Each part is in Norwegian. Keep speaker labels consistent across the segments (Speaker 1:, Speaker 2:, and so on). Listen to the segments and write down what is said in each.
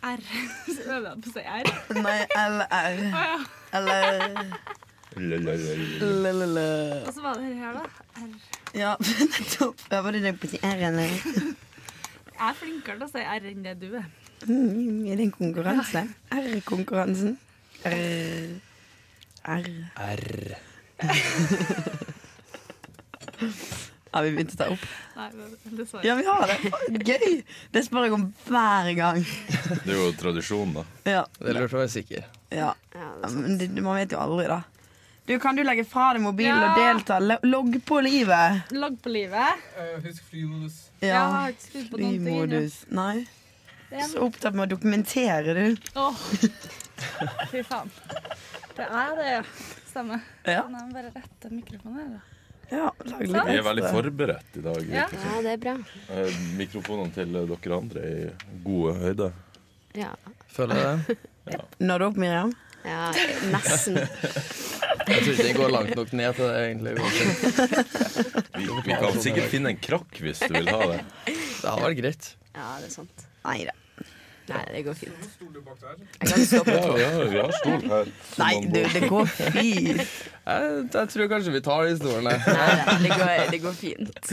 Speaker 1: R. Så øvde jeg på å si R.
Speaker 2: Nei, LR.
Speaker 1: Å, ja.
Speaker 2: Eller
Speaker 3: Lalalala.
Speaker 2: LLL.
Speaker 1: Og så var det dette her, da. R.
Speaker 2: Ja, nettopp. Ja, Var det det på å si R, eller?
Speaker 1: Jeg er flinkere til å si R enn det du er.
Speaker 2: Mm, er det en konkurranse? R-konkurransen. R. R.
Speaker 4: R.
Speaker 2: Har vi begynt å ta opp?
Speaker 1: Nei, men dessverre.
Speaker 2: Ja, vi har det. Gøy! Det spør jeg om hver gang.
Speaker 3: Det er jo tradisjon, da.
Speaker 2: Ja.
Speaker 4: Det er lurt å være sikker.
Speaker 2: ja.
Speaker 1: Ja, det er sant.
Speaker 2: Men det, man vet jo aldri, da. Du, Kan du legge fra deg mobilen
Speaker 1: Ja.
Speaker 2: og delta? Lo- Logg på livet.
Speaker 1: Logg på livet.
Speaker 5: Eh, husk flymodus.
Speaker 1: Ja. Jeg har ikke skrudd på noen ting. ennå.
Speaker 2: Flymodus. Nei.
Speaker 1: Det er-
Speaker 2: Så opptatt med å dokumentere, du.
Speaker 1: Åh, fy faen. Det er det, ja. Stemmer.
Speaker 2: Ja.
Speaker 1: Nå må jeg bare rette mikrofonen her. da.
Speaker 2: ja lag litt
Speaker 3: Vi er veldig
Speaker 2: ekstra.
Speaker 3: forberedt i dag.
Speaker 1: Ja.
Speaker 3: virker det som.
Speaker 6: Ja, det er bra.
Speaker 3: Eh, Mikrofonene til eh, dere andre er i gode høyde.
Speaker 6: Ja.
Speaker 4: Føler jeg det?
Speaker 2: Nådde opp, Miriam?
Speaker 6: ja nesten.
Speaker 4: Jeg tror ikke den går langt nok ned til det, egentlig. Det
Speaker 3: Vi, vi kan sikkert finne en krakk hvis du vil ha det.
Speaker 4: hadde vært greit.
Speaker 6: Ja, det er sant.
Speaker 2: Nei da.
Speaker 6: Nei, det går fint.
Speaker 5: Stol du bak der?
Speaker 6: Jeg kan stå på
Speaker 3: Ja, vi har, vi har stol her.
Speaker 2: Nei, du, det går fint.
Speaker 4: Jeg, jeg tror kanskje vi tar de stolene.
Speaker 6: Nei, nei, det går, det går fint.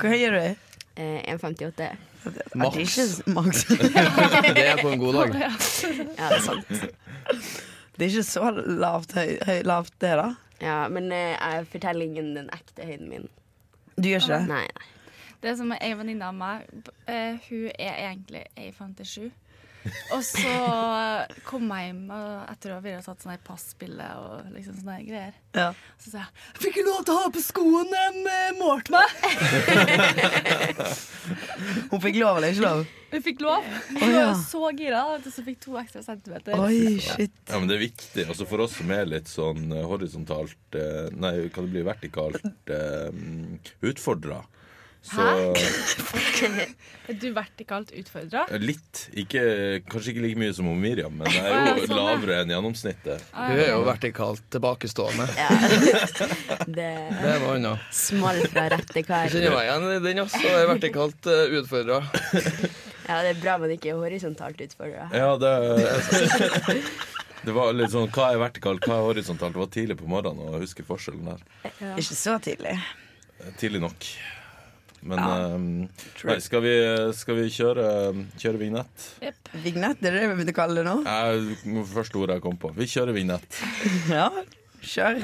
Speaker 2: Hvor høy er du?
Speaker 6: Eh, 1,58.
Speaker 2: Ja, det er ikke s- Max.
Speaker 4: Det er på en god dag.
Speaker 6: Ja, det er sant.
Speaker 2: Det er ikke så lavt, høy, høy, lavt det, da.
Speaker 6: Ja, men eh, jeg forteller ingen den ekte høyden min.
Speaker 2: Du gjør ikke det?
Speaker 6: Nei, nei.
Speaker 1: Det som er ei venninne av meg, b- eh, hun er egentlig 1,57. Og så kom jeg hjem, og jeg tror vi hadde tatt sånne passpille og liksom sånne greier.
Speaker 2: Ja.
Speaker 1: Så sa jeg 'Jeg fikk ikke lov til å ha på skoene,
Speaker 2: eh,
Speaker 1: de målte meg'.
Speaker 2: Hun fikk lov eller ikke lov?
Speaker 1: Hun fikk lov. Hun var jo så gira, vet du, så fikk to ekstra centimeter.
Speaker 2: Oi, shit.
Speaker 3: Ja, men det er viktig. Altså For oss som er litt sånn eh, horisontalt eh, Nei, kan det bli vertikalt eh, utfordra? Så
Speaker 1: Er du vertikalt utfordra?
Speaker 3: eh, litt. Ikke, kanskje ikke like mye som hun Miriam, men
Speaker 1: Å,
Speaker 3: jeg er
Speaker 1: ja,
Speaker 3: jo
Speaker 1: sånn, ja.
Speaker 3: lavere enn gjennomsnittet.
Speaker 4: Du er jo vertikalt tilbakestående.
Speaker 6: Det
Speaker 4: Det er noe annet.
Speaker 6: smal fra rette
Speaker 4: Jeg
Speaker 6: kar.
Speaker 4: kjenner meg igjen i den, altså. Jeg er vertikalt uh, utfordra.
Speaker 6: Ja, det er bra man ikke er horisontalt utfordra.
Speaker 3: Ja, det Det var litt sånn Hva er vertikalt, hva er horisontalt? Det var tidlig på morgenen å huske forskjellen der.
Speaker 2: Ikke så tidlig.
Speaker 3: Tidlig nok. Men
Speaker 2: Ja.
Speaker 3: eh, nei, skal, vi, skal vi kjøre, kjøre vignett?
Speaker 2: Vignett, det er det vi begynte å kalle det nå?
Speaker 3: Jeg, første ordet jeg kom på. Vi kjører vignett.
Speaker 2: Ja. Kjør.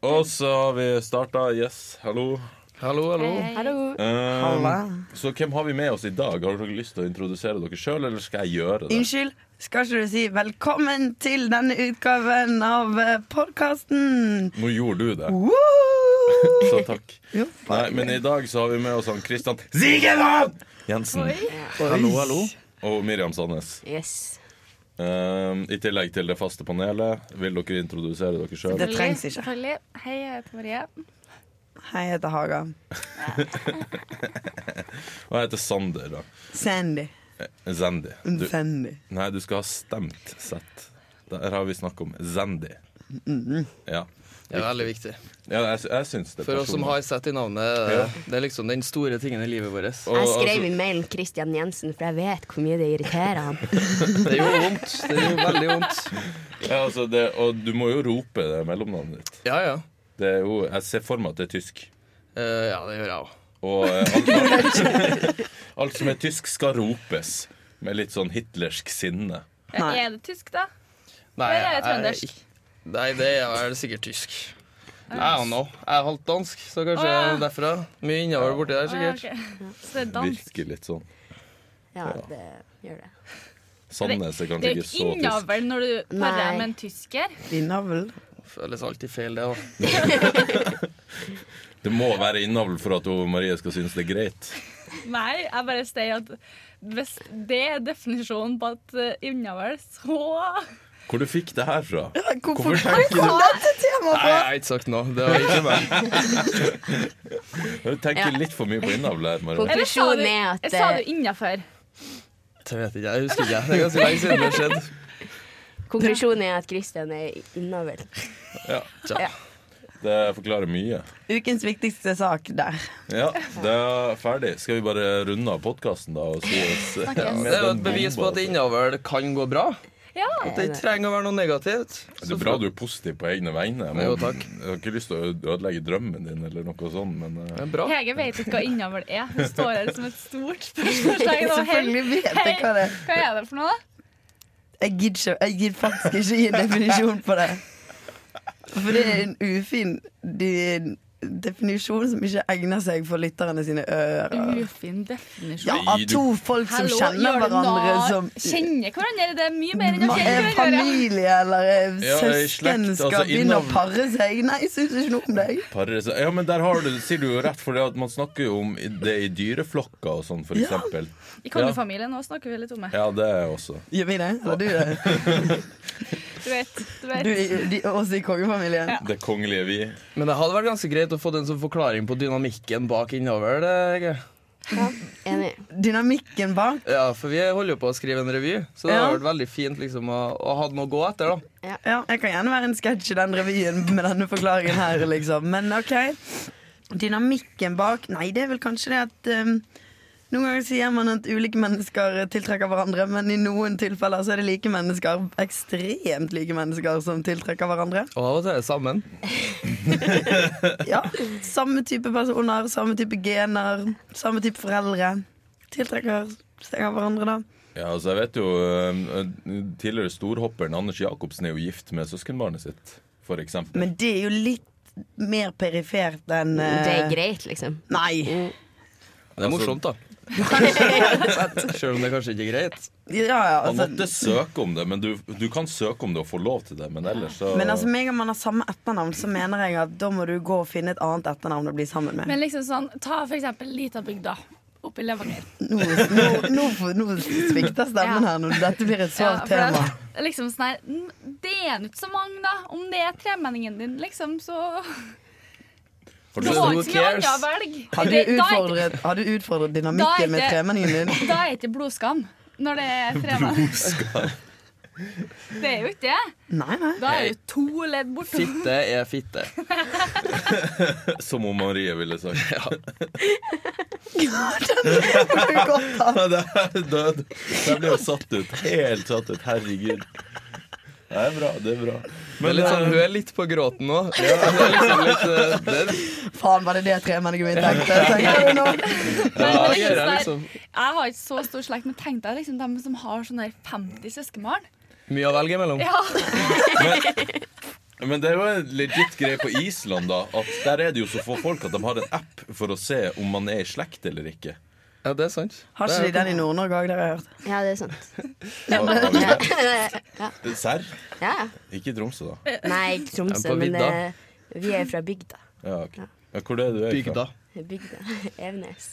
Speaker 3: Og så har vi starta. Yes, hallo.
Speaker 4: Hallo, hallo.
Speaker 6: Hallo.
Speaker 3: Eh,
Speaker 2: Halla.
Speaker 3: så hvem har vi med oss i dag? Har dere lyst til å introdusere dere sjøl, eller skal jeg gjøre det?
Speaker 2: Unnskyld, skal ikke du si velkommen til denne utgaven av eh, podkasten?
Speaker 3: Nå gjorde du det,
Speaker 2: Oh. Woo!
Speaker 3: så takk.
Speaker 2: Jo,
Speaker 3: Nei, men i dag så har vi med oss han Christian Zigemann Jensen
Speaker 4: Hallo, hallo.
Speaker 3: og Miriam Sandnes.
Speaker 6: Yes.
Speaker 3: Eh, I tillegg til det faste panelet. Vil dere introdusere dere sjøl?
Speaker 2: Det trengs ikke.
Speaker 1: Selvfølgelig. Hei, jeg heter Marie.
Speaker 2: Hei, jeg heter Haga.
Speaker 3: Og jeg heter Sander. da.
Speaker 2: Sandy.
Speaker 3: Zandy. Du,
Speaker 2: Sandy.
Speaker 3: nei, du skal ha stemt sett. Der har vi snakk om Zandy. Ja.
Speaker 4: Det er veldig viktig.
Speaker 3: ja jeg, sy- jeg syns det.
Speaker 4: For oss som
Speaker 3: personlig.
Speaker 4: har sett i navnet, det er- det er liksom den store tingen i livet vårt.
Speaker 3: Og,
Speaker 6: Jeg skrev
Speaker 3: altså,
Speaker 6: i mailen Christian Jensen, for jeg vet hvor mye det irriterer han.
Speaker 4: Det gjorde vondt. Det gjorde veldig vondt.
Speaker 3: ja, altså det, og du må jo rope det mellomnavnet ditt.
Speaker 4: Ja, ja.
Speaker 3: Det er jo, jeg ser for meg at det er tysk.
Speaker 4: Eh, ja, det gjør jeg òg.
Speaker 3: Og eh, alt, alt, alt som er tysk, skal ropes med litt sånn hitlersk sinne.
Speaker 1: Ja,
Speaker 2: Nei.
Speaker 1: er det tysk, da?
Speaker 4: Nei,
Speaker 1: Eller er det trøndersk?
Speaker 4: jeg- Nei, det er vel sikkert tysk. Jeg er nå. Jeg er halvt dansk, så kanskje
Speaker 1: Å, ja.
Speaker 4: derfra. Mye innover borti
Speaker 1: Å,
Speaker 4: der,
Speaker 1: ja,
Speaker 4: sikkert.
Speaker 1: ok. Så det er dansk.
Speaker 3: Virker litt sånn.
Speaker 6: Ja, det gjør det.
Speaker 3: Sandnes
Speaker 1: Det
Speaker 3: er kanskje
Speaker 1: er jo
Speaker 3: ikke
Speaker 1: ikke
Speaker 3: så tysk.
Speaker 1: innover når du parer
Speaker 6: Nei.
Speaker 1: med en tysker.
Speaker 2: Din navl.
Speaker 4: Føles alltid feil, det òg.
Speaker 3: Det må være innavl for at hun, Marie skal synes det er greit.
Speaker 1: Nei, jeg bare sier at hvis det er definisjonen på at eh, innover, så
Speaker 3: Hvor du fikk det her fra?
Speaker 2: Hvorfor,
Speaker 3: Hvorfor
Speaker 2: Hvor
Speaker 3: tenker
Speaker 2: kom
Speaker 3: du
Speaker 2: dette temaet
Speaker 4: Nei, jeg
Speaker 2: fra?
Speaker 4: har ikke sagt noe. Det var ikke meg.
Speaker 3: Du tenker litt for mye på innavl her, Marie.
Speaker 1: Eller sa du,
Speaker 6: Konklusjonen er at,
Speaker 1: jeg sa
Speaker 6: eh,
Speaker 1: du innafor?
Speaker 4: Det vet ikke jeg. Jeg husker ikke. Det er ganske lenge siden det skjedde.
Speaker 6: Konklusjonen er at Christian er innover.
Speaker 3: Ja.
Speaker 4: Tja.
Speaker 3: Det forklarer mye.
Speaker 2: Ukens viktigste sak der.
Speaker 3: Ja, det er ferdig. Skal vi bare runde av podkasten, da? Og si oss
Speaker 1: Snakkes.
Speaker 3: med
Speaker 4: Det er jo
Speaker 3: den
Speaker 4: et bevis på
Speaker 3: bomba,
Speaker 4: at
Speaker 3: altså.
Speaker 4: innavl kan gå bra.
Speaker 1: Ja.
Speaker 4: At
Speaker 6: Eh,
Speaker 4: det ikke trenger å være noe negativt.
Speaker 3: Det er bra du er positiv på egne vegne. men
Speaker 4: Jo, takk.
Speaker 3: Jeg har ikke lyst til å ødelegge drømmen din eller noe sånt, men eh,
Speaker 4: Det er bra.
Speaker 1: Hege vet ikke hva innavl er. Hun står her som et stort spørsmålstegn. og hei,
Speaker 2: Selvfølgelig vet jeg hva det er.
Speaker 1: Hva er det for noe, da?
Speaker 2: Jeg gidder ikke- jeg gidder faktisk ikke gi en definisjon på det. For det er en ufin de- definisjon som ikke egner seg for lytterne sine ører.
Speaker 1: Ufin definisjon.
Speaker 2: Ja, av to folk som kjenner
Speaker 1: gjør det
Speaker 2: hverandre
Speaker 1: nar-
Speaker 2: som
Speaker 1: Kjenner hverandre? Det er mye mer enn å
Speaker 2: er
Speaker 1: kjenne hverandre.
Speaker 2: familie eller er
Speaker 3: Ja, er i
Speaker 2: søsken
Speaker 3: slekt,
Speaker 2: skal
Speaker 3: altså
Speaker 2: begynne å
Speaker 3: innavl.
Speaker 2: pare seg. Nei, jeg syns ikke noe om deg.
Speaker 3: parer seg Ja, men der har du, sier du jo rett, for det at man snakker jo om det i dyreflokker og sånn, for
Speaker 2: Ja.
Speaker 3: eksempel.
Speaker 1: I kongefamilien nå snakker vi litt om det.
Speaker 3: Ja, det er jeg også.
Speaker 2: Gjør vi det? Eller du det?
Speaker 1: Du vet. Du vet.
Speaker 2: Du de, også i kongefamilien?
Speaker 3: Det kongelige vi.
Speaker 4: Men det hadde vært ganske greit å få en sånn forklaring på dynamikken bak innavl. eh, Hege.
Speaker 6: Ja, enig.
Speaker 2: Dynamikken bak?
Speaker 4: Ja, for vi holder jo på å skrive en revy, så det hadde
Speaker 2: Ja.
Speaker 4: vært veldig fint liksom, å, å ha noe å gå etter. da
Speaker 2: Ja, jeg kan gjerne være en sketsj i den revyen med denne forklaringen her, liksom. Men OK. Dynamikken bak Nei, det er vel kanskje det at um, Noen ganger sier man at ulike mennesker tiltrekker hverandre, men i noen tilfeller så er det like mennesker, ekstremt like mennesker, som tiltrekker hverandre.
Speaker 4: Og av og til er det sammen.
Speaker 2: Ja, Samme type personer, samme type gener, samme type foreldre. Tiltrekker seg av hverandre, da.
Speaker 3: Ja, altså jeg vet jo eh, Tidligere storhopperen Anders Jacobsen er jo gift med søskenbarnet sitt, for eksempel.
Speaker 2: Men det er jo litt mer perifert enn
Speaker 6: Det er
Speaker 2: eh,
Speaker 6: greit, liksom.
Speaker 2: Nei.
Speaker 4: Det er
Speaker 3: Altså-
Speaker 4: morsomt, da. Selv om det kanskje ikke er greit.
Speaker 2: Ja, ja,
Speaker 3: Han måtte
Speaker 2: altså,
Speaker 3: søke om det, men du, du kan søke om det og få lov til det, men ellers så
Speaker 2: men altså, med en gang man har samme etternavn, så mener jeg at da må du gå og finne et annet etternavn å bli sammen med.
Speaker 1: Men liksom sånn, ta for eksempel lita bygda oppe i Levanger.
Speaker 2: Nå, nå, nå, nå svikter stemmen
Speaker 1: Ja.
Speaker 2: her nå. Dette blir et
Speaker 1: Ja,
Speaker 2: svart
Speaker 1: for
Speaker 2: tema.
Speaker 1: det er Liksom sånn her, "Mm, det er nå ikke så mange, da. Om det er tremenningen din, liksom, så
Speaker 3: Har
Speaker 1: Du
Speaker 3: du,
Speaker 1: har
Speaker 4: who
Speaker 1: ikke så mye annet
Speaker 4: cares?
Speaker 1: å velge.
Speaker 2: Har du
Speaker 1: Det- da er ikke-
Speaker 2: utfordret, har du utfordret
Speaker 1: Da er
Speaker 2: dynamikken med
Speaker 1: det-
Speaker 2: tremenningen din?
Speaker 1: Da er ikke blodskam når det er tremenning. Det er jo ikke det.
Speaker 2: Nei, nei.
Speaker 1: Da er jo to ledd borte.
Speaker 4: Fitte er fitte.
Speaker 3: som om Marie ville sagt.
Speaker 2: Det er godt, da.
Speaker 3: Nei, det er død. Jeg ble jo satt ut. Helt satt ut. Herregud. Det er bra. Det er bra.
Speaker 4: Men litt sånn, hun er litt på gråten nå. Ja, det er liksom litt, eh, det,
Speaker 2: Faen, var det det tremenningen min tenkte? Tenker du nå?
Speaker 1: Men
Speaker 4: ja, det
Speaker 1: liksom
Speaker 4: gjør jeg
Speaker 1: sånn her,
Speaker 4: liksom.
Speaker 1: Jeg har ikke så stor slekt, men tenk deg liksom dem som har sånn her 50 søskenbarn.
Speaker 4: Mye å velge mellom.
Speaker 1: Ja.
Speaker 3: Men det er jo en legit greie på Island, da. At der er det jo så få folk at de har en app for å se om man er i slekt eller ikke.
Speaker 4: Ja, det er sant.
Speaker 2: Har ikke de den i Nord-Norge òg, det har jeg hørt?
Speaker 6: Ja, det er sant.
Speaker 3: Har- har vi det?
Speaker 6: ja.
Speaker 3: Serr?
Speaker 6: ja.
Speaker 3: Ikke i Tromsø, da.
Speaker 6: Nei,
Speaker 4: Ja,
Speaker 6: ikke Tromsø,
Speaker 4: på
Speaker 6: men
Speaker 4: vidda.
Speaker 6: eh, vi er fra bygda.
Speaker 3: Ja, ok. ja, hvor er det du er fra?
Speaker 4: Bygda.
Speaker 6: Bygda. Evenes.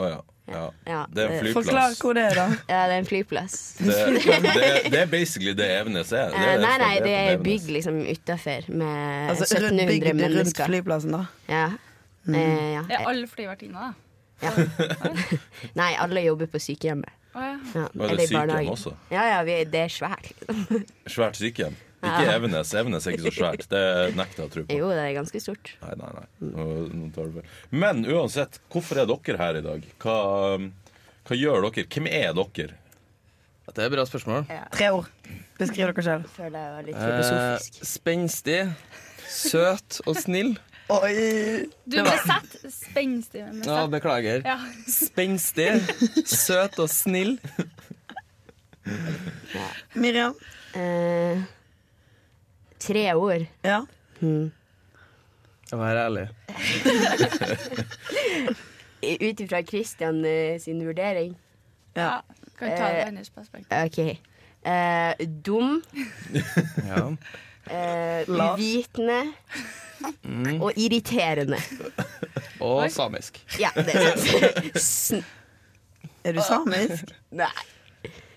Speaker 3: Å ja. ja.
Speaker 6: Ja,
Speaker 3: Det er en
Speaker 6: det-
Speaker 2: Forklar
Speaker 3: flyplass.
Speaker 2: hvor det er, da.
Speaker 6: Ja, det er en flyplass.
Speaker 3: Det, det, er- det er basically det Evenes er. Det
Speaker 6: Eh,
Speaker 3: er
Speaker 6: nei, nei,
Speaker 3: på
Speaker 6: det er
Speaker 3: Evenes.
Speaker 6: bygg liksom utafor med
Speaker 2: Altså, rundt
Speaker 6: 1700
Speaker 2: bygd rundt
Speaker 6: mennesker.
Speaker 2: flyplassen, da.
Speaker 6: Ja. Eh, ja.
Speaker 1: Det er alle flyvertinner, da.
Speaker 6: Nei, alle jobber på sykehjemmet.
Speaker 1: Å, ja.
Speaker 6: Ja.
Speaker 3: Og det
Speaker 6: eller i
Speaker 3: er sykehjem
Speaker 6: barnehagen.
Speaker 3: også.
Speaker 6: Ja, ja, vi er, det er svært.
Speaker 3: Svært sykehjem. Ikke
Speaker 6: Ja.
Speaker 3: Evenes. Evenes er ikke så svært. Det nekter jeg å tro på.
Speaker 6: Jo, det er ganske stort.
Speaker 3: Nei, nei, nei. Nå, nå tar du feil. Men uansett, hvorfor er dere her i dag? Hva, hva gjør dere? Hvem er dere?
Speaker 4: Det er et bra spørsmål.
Speaker 2: Tre ord. Beskriv dere selv.
Speaker 6: Jeg føler jeg var litt
Speaker 4: Eh,
Speaker 6: filosofisk.
Speaker 4: spenstig, søt og snill.
Speaker 2: Oi!
Speaker 1: Du ble sett spenstig. men
Speaker 4: Ja,
Speaker 1: Besett.
Speaker 4: beklager.
Speaker 1: Ja.
Speaker 4: Spenstig, søt og snill.
Speaker 2: Miriam.
Speaker 6: Eh, tre ord.
Speaker 2: Ja.
Speaker 4: Jeg må være ærlig.
Speaker 6: Ut ifra Christian eh, sin vurdering.
Speaker 1: Ja. Kan ta det
Speaker 3: Eh,
Speaker 1: fra hennes perspektiv.
Speaker 6: OK. Eh, dum,
Speaker 4: Ja.
Speaker 6: eh,
Speaker 2: Lav.
Speaker 6: uvitende og irriterende.
Speaker 4: Og samisk.
Speaker 6: Ja, det er sant. Sn-
Speaker 2: Er du samisk?
Speaker 6: Nei.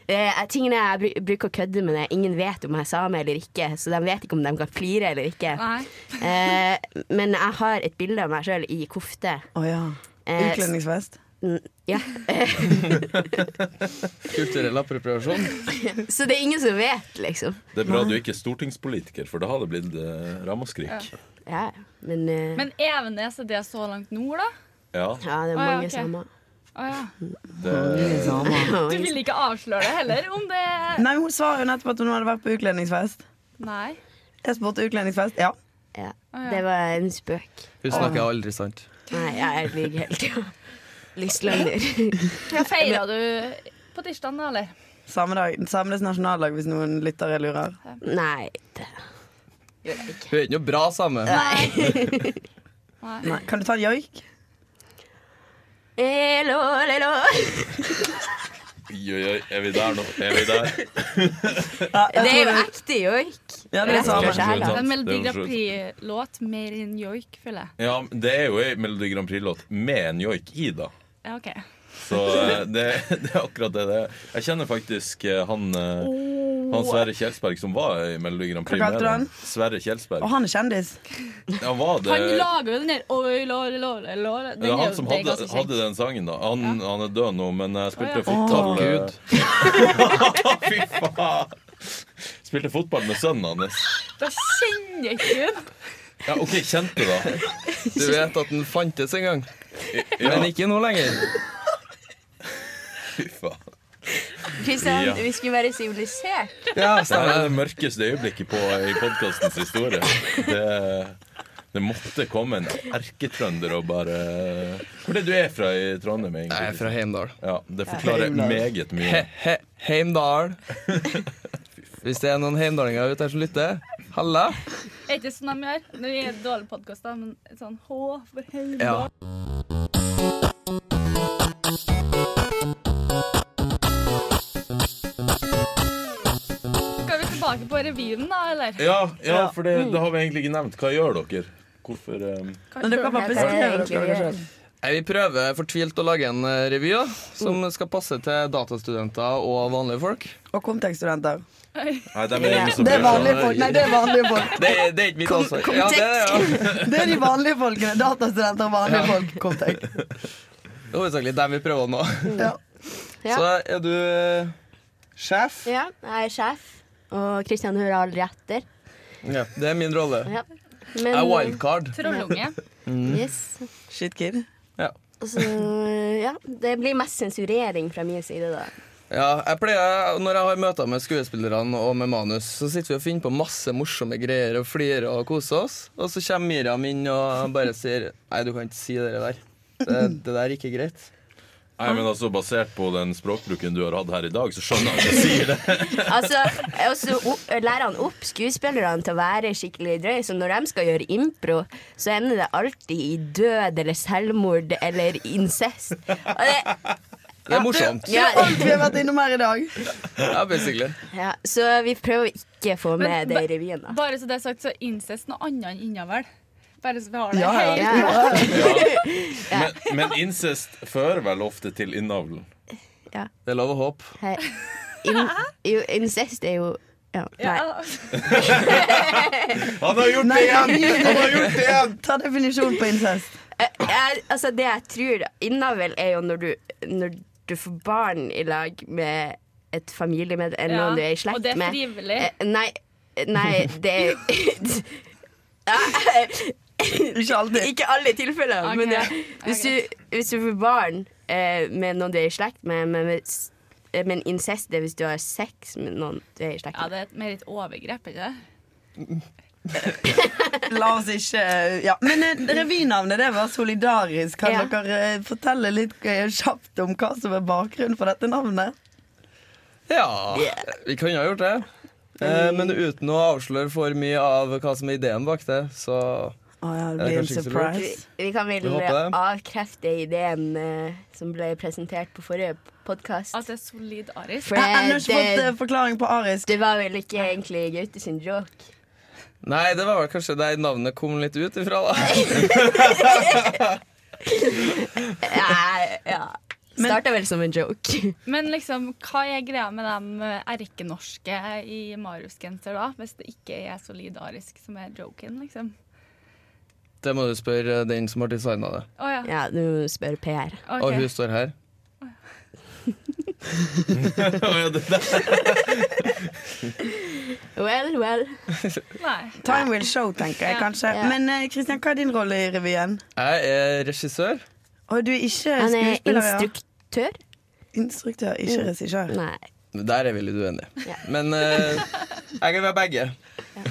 Speaker 6: Eh, tingene jeg bru- bruker å kødde med det, ingen vet om jeg er same eller ikke, så de vet ikke om de kan flire eller ikke.
Speaker 1: Nei.
Speaker 6: Eh, men jeg har et bilde av meg sjøl i kofte.
Speaker 2: Å ja.
Speaker 6: Eh,
Speaker 2: Utkledningsfest?
Speaker 6: s- ja.
Speaker 4: Kulturell appropriasjon.
Speaker 6: Så det er ingen som vet, liksom.
Speaker 3: Det er bra du ikke er stortingspolitiker, for da hadde det blitt eh, ramaskrik.
Speaker 6: Ja, Men, eh,
Speaker 1: Men Evenes, er det så langt nord, da?
Speaker 3: Ja,
Speaker 6: ja, det er
Speaker 1: Å, ja,
Speaker 6: mange
Speaker 1: ok.
Speaker 6: samer.
Speaker 1: Å, ja.
Speaker 3: det,
Speaker 1: Du vil ikke avsløre det heller, om det
Speaker 2: Nei, Hun svarer jo nettopp at hun hadde vært på utlendingsfest.
Speaker 1: Nei.
Speaker 2: Jeg spurte utlendingsfest. Ja.
Speaker 6: Ja.
Speaker 1: Å, ja.
Speaker 6: Det var en spøk.
Speaker 4: Hun snakker aldri sant.
Speaker 6: Nei, jeg lyver hele tida. Lystløgner.
Speaker 1: Feira du på tirsdag, da, eller?
Speaker 2: Samme dag. Samenes nasjonaldag, hvis noen lyttere lurer.
Speaker 6: Nei. Det.
Speaker 4: Hun er ikke noe bra same.
Speaker 1: Nei.
Speaker 2: Nei. Kan du ta en joik?
Speaker 6: Hello, hello.
Speaker 3: Oi, oi, oi, er vi der nå? Er vi der?
Speaker 2: Ja,
Speaker 6: Det er jo ekte joik.
Speaker 2: Ja, det er
Speaker 6: Rett og
Speaker 2: samer.
Speaker 6: slett.
Speaker 3: Det er
Speaker 1: En Melodi
Speaker 3: jo
Speaker 1: Grand
Speaker 3: for så
Speaker 1: Prix-låt mer enn joik, føler jeg.
Speaker 3: Ja, men det er jo ei Melodi Grand Prix-låt med en joik i, da.
Speaker 1: Ja, OK.
Speaker 3: Så eh, det, det er akkurat det det er. Jeg kjenner faktisk eh, han eh,
Speaker 1: Oh.
Speaker 3: Han Sverre Kjelsberg som var i Melodi Grand Prix.
Speaker 2: Hva kalte
Speaker 3: med
Speaker 2: du han?
Speaker 3: den. Sverre Kjelsberg.
Speaker 2: Og han er kjendis.
Speaker 3: Han var det
Speaker 1: Han lager jo den der Oi, låre, låre, låre. Den
Speaker 3: det
Speaker 1: er
Speaker 3: er
Speaker 1: jo-
Speaker 3: han som
Speaker 1: det er
Speaker 3: hadde,
Speaker 1: ganske kjent.
Speaker 3: hadde den sangen, da. Han, han er død nå, men jeg spilte
Speaker 1: Å, ja.
Speaker 3: fotball eh,
Speaker 4: Gud.
Speaker 3: Fy faen! Spilte fotball med sønnen hans.
Speaker 1: Da kjenner jeg ikke hun.
Speaker 3: Ja, OK, kjente, da.
Speaker 4: Du vet at den fantes en gang,
Speaker 3: Ja,
Speaker 4: men ikke nå lenger.
Speaker 3: fy faen.
Speaker 6: Kristian,
Speaker 3: Ja.
Speaker 6: vi skulle være sivilisert.
Speaker 4: Ja,
Speaker 3: Det her er
Speaker 4: stemmer.
Speaker 3: det mørkeste øyeblikket på, i podkastens historie. Det, det måtte komme en erketrønder og bare Hvor er det du er fra i Trondheim, egentlig?
Speaker 4: Jeg er fra Heimdal.
Speaker 3: Ja, det forklarer
Speaker 2: Heimdal.
Speaker 3: meget
Speaker 4: He,
Speaker 3: mye.
Speaker 4: he, Heimdal. Hvis det er noen heimdalinger ute her som lytter, halla.
Speaker 1: Er ikke sånn de gjør? Nå er det dårlig podkast, da, men sånn H for helvete.
Speaker 4: Ja.
Speaker 1: Skal vi tilbake på revyen, da, eller?
Speaker 3: Ja, ja for det, det har vi egentlig ikke nevnt. Hva gjør dere? Hvorfor eh,
Speaker 2: Men du kan bare
Speaker 6: Det er det
Speaker 2: beskrive
Speaker 6: jeg
Speaker 2: det
Speaker 6: egentlig
Speaker 2: dere
Speaker 6: gjør.
Speaker 2: selv.
Speaker 4: Nei, Vi prøver fortvilt å lage en eh, revy da, som skal passe til datastudenter og vanlige folk.
Speaker 2: Og kontekststudenter.
Speaker 3: Nei, de er ingen som
Speaker 2: Det er
Speaker 3: bryr seg om
Speaker 2: vanlige folk. Nei, det er vanlige folk.
Speaker 4: Det, det er ikke mitt ansvar. Ja, det, er det, ja.
Speaker 2: Det er de vanlige folkene. Datastudenter og vanlige folk. Kontekst.
Speaker 4: Det er Hovedsakelig dem vi prøver å nå.
Speaker 2: Ja.
Speaker 6: Ja.
Speaker 4: Så er du eh, sjef.
Speaker 6: Ja, jeg er sjef, og Kristian hører aldri etter.
Speaker 4: Ja, det er min rolle.
Speaker 6: Ja.
Speaker 4: Jeg er eh, wildcard.
Speaker 1: Trollunge.
Speaker 6: Yes.
Speaker 2: Shit, kid.
Speaker 6: Og så, ja, det blir mest sensurering fra min side, da.
Speaker 4: Ja, jeg pleier, Når jeg har møter med skuespillerne og med manus, så sitter vi og finner på masse morsomme greier og flirer og koser oss. Og så kommer Miriam inn og bare sier Nei, du kan ikke si det der. Det, det der er ikke greit.
Speaker 3: Nei, men altså Basert på den språkbruken du har hatt her i dag, så skjønner jeg at jeg sier det.
Speaker 6: Altså, og så o- lærer han opp skuespillerne til å være skikkelig drøy, så når de skal gjøre impro, så ender det alltid i død eller selvmord eller incest. Og det,
Speaker 4: Det er morsomt.
Speaker 6: ja,
Speaker 2: Alt vi har vært innom her i dag.
Speaker 4: Ja, basically.
Speaker 6: ja, så vi prøver å ikke å få
Speaker 1: Men
Speaker 6: med det i revyen, da.
Speaker 1: Bare så det er sagt, så incest noe annet enn innavl. Bare så vi har det
Speaker 2: Ja, ja.
Speaker 1: helt
Speaker 6: Ja,
Speaker 3: Men, men incest fører vel ofte til innavlen.
Speaker 4: Det er lov å håpe.
Speaker 6: hei. In, jo, incest er jo ja, Nei.
Speaker 1: Ja.
Speaker 3: Han har gjort
Speaker 2: Nei,
Speaker 3: det igjen!
Speaker 2: han gjør
Speaker 3: Han har gjort det igjen!
Speaker 2: Ta definisjonen på incest.
Speaker 6: Eh, Jeg, altså, det jeg tror innavl, er jo når du, når du får barn i lag med et familiemedlem, eller
Speaker 1: Ja,
Speaker 6: noen du er i slekt
Speaker 1: Og det er
Speaker 6: med.
Speaker 1: frivillig.
Speaker 6: Eh, Nei, nei det eh,
Speaker 2: Ikke alltid.
Speaker 6: Ikke alle tilfeller,
Speaker 1: Ok,
Speaker 6: men ja.
Speaker 1: ja,
Speaker 6: hvis, du, hvis du får barn eh, med noen du er i slekt med, men, hvis- eh, men incest det er hvis du har sex med noen du er i slekt
Speaker 1: Ja,
Speaker 6: med.
Speaker 1: det er et- mer et overgrep, ikke det?
Speaker 2: La oss ikke ja. Men eh, revynavnet det var solidarisk. Kan
Speaker 6: Ja.
Speaker 2: dere eh, fortelle litt eh, kjapt om hva som er bakgrunnen for dette navnet?
Speaker 4: Ja, vi kunne ha gjort det. Eh, men uten å avsløre for mye av hva som er ideen bak det, så
Speaker 2: Å ja, det blir
Speaker 4: Ja,
Speaker 2: en
Speaker 4: kanskje ikke så lurt.
Speaker 6: Vi,
Speaker 2: surprise.
Speaker 6: vi kan vel
Speaker 4: Vi håper det.
Speaker 6: avkrefte ideen eh, som ble presentert på forrige podkast.
Speaker 1: At Altså, det er solid arisk.
Speaker 6: For
Speaker 2: Jeg har ennå ikke fått eh,
Speaker 6: det,
Speaker 2: forklaring på arisk.
Speaker 6: det var vel ikke egentlig Gaute sin joke.
Speaker 4: Nei, det var vel kanskje der navnet kom litt ut ifra, da.
Speaker 6: Nei, Eh, ja.
Speaker 2: Men-
Speaker 6: Starta vel som en joke.
Speaker 1: Men liksom, hva er greia med de erkenorske i Marius-genser, da? Hvis det ikke er solidarisk som er joken, liksom.
Speaker 4: Det må du spørre den som har designa det.
Speaker 1: Å ja.
Speaker 6: Ja, nå spør Per.
Speaker 1: ok.
Speaker 4: Og hun står her.
Speaker 3: Å, ja, det der.
Speaker 6: Well, well.
Speaker 1: Nei.
Speaker 2: Time will show, tenker jeg
Speaker 1: Ja.
Speaker 2: kanskje.
Speaker 6: Ja.
Speaker 2: Men eh, Kristian, hva er din rolle i revyen?
Speaker 4: Jeg er regissør.
Speaker 2: Og du er Mm. ikke
Speaker 6: Han er
Speaker 2: skuespiller, ja?
Speaker 6: instruktør.
Speaker 2: Instruktør, ikke regissør.
Speaker 6: Nei.
Speaker 4: Der er vi litt uenige.
Speaker 6: Ja.
Speaker 4: Men eh, jeg kan være begge.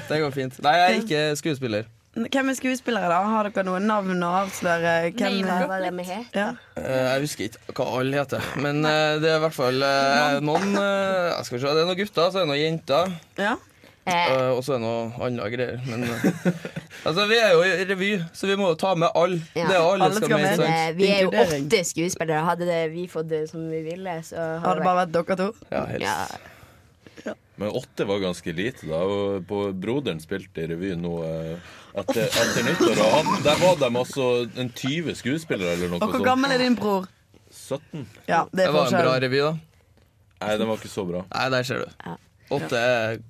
Speaker 4: Det går fint. Nei, jeg er ikke skuespiller.
Speaker 2: Hvem er skuespillere, da? Har dere noen navn å avsløre? Hvem
Speaker 1: Name
Speaker 6: Hva
Speaker 1: drop.
Speaker 2: er
Speaker 6: var det vi het?
Speaker 2: ja.
Speaker 4: Eh, Jeg husker ikke hva alle heter, men eh, det er i hvert fall eh, noen eh, jeg skal se, Det er noen gutter, så er det noen jenter,
Speaker 2: ja.
Speaker 6: Eh,
Speaker 4: eh, og så er det noen andre greier. Men eh, altså, vi er jo i revy, så vi må jo ta med alle.
Speaker 6: Ja.
Speaker 4: Det er alle,
Speaker 2: Alle
Speaker 4: skal,
Speaker 2: skal
Speaker 4: med.
Speaker 2: med.
Speaker 4: ikke sant?
Speaker 6: eh, vi er jo
Speaker 2: Inkludering.
Speaker 6: åtte skuespillere. Hadde det vi fått det som vi ville, så
Speaker 2: Har det bare vært dere to?
Speaker 4: Ja, helst.
Speaker 6: ja.
Speaker 3: Men åtte var ganske lite da. og på Broderen spilte i revy nå eh, etter, etter nyttår. Og han, der var de altså en 20 skuespillere eller
Speaker 2: Og
Speaker 3: noe
Speaker 2: hvor
Speaker 3: sånt.
Speaker 2: gammel er din bror?
Speaker 3: 17?
Speaker 2: Ja, det
Speaker 4: Det
Speaker 2: er
Speaker 4: var en bra
Speaker 2: forskjellen.
Speaker 4: revy, da.
Speaker 3: Nei, den var ikke så bra.
Speaker 4: Nei, der ser du.
Speaker 6: Ja.
Speaker 4: Åtte er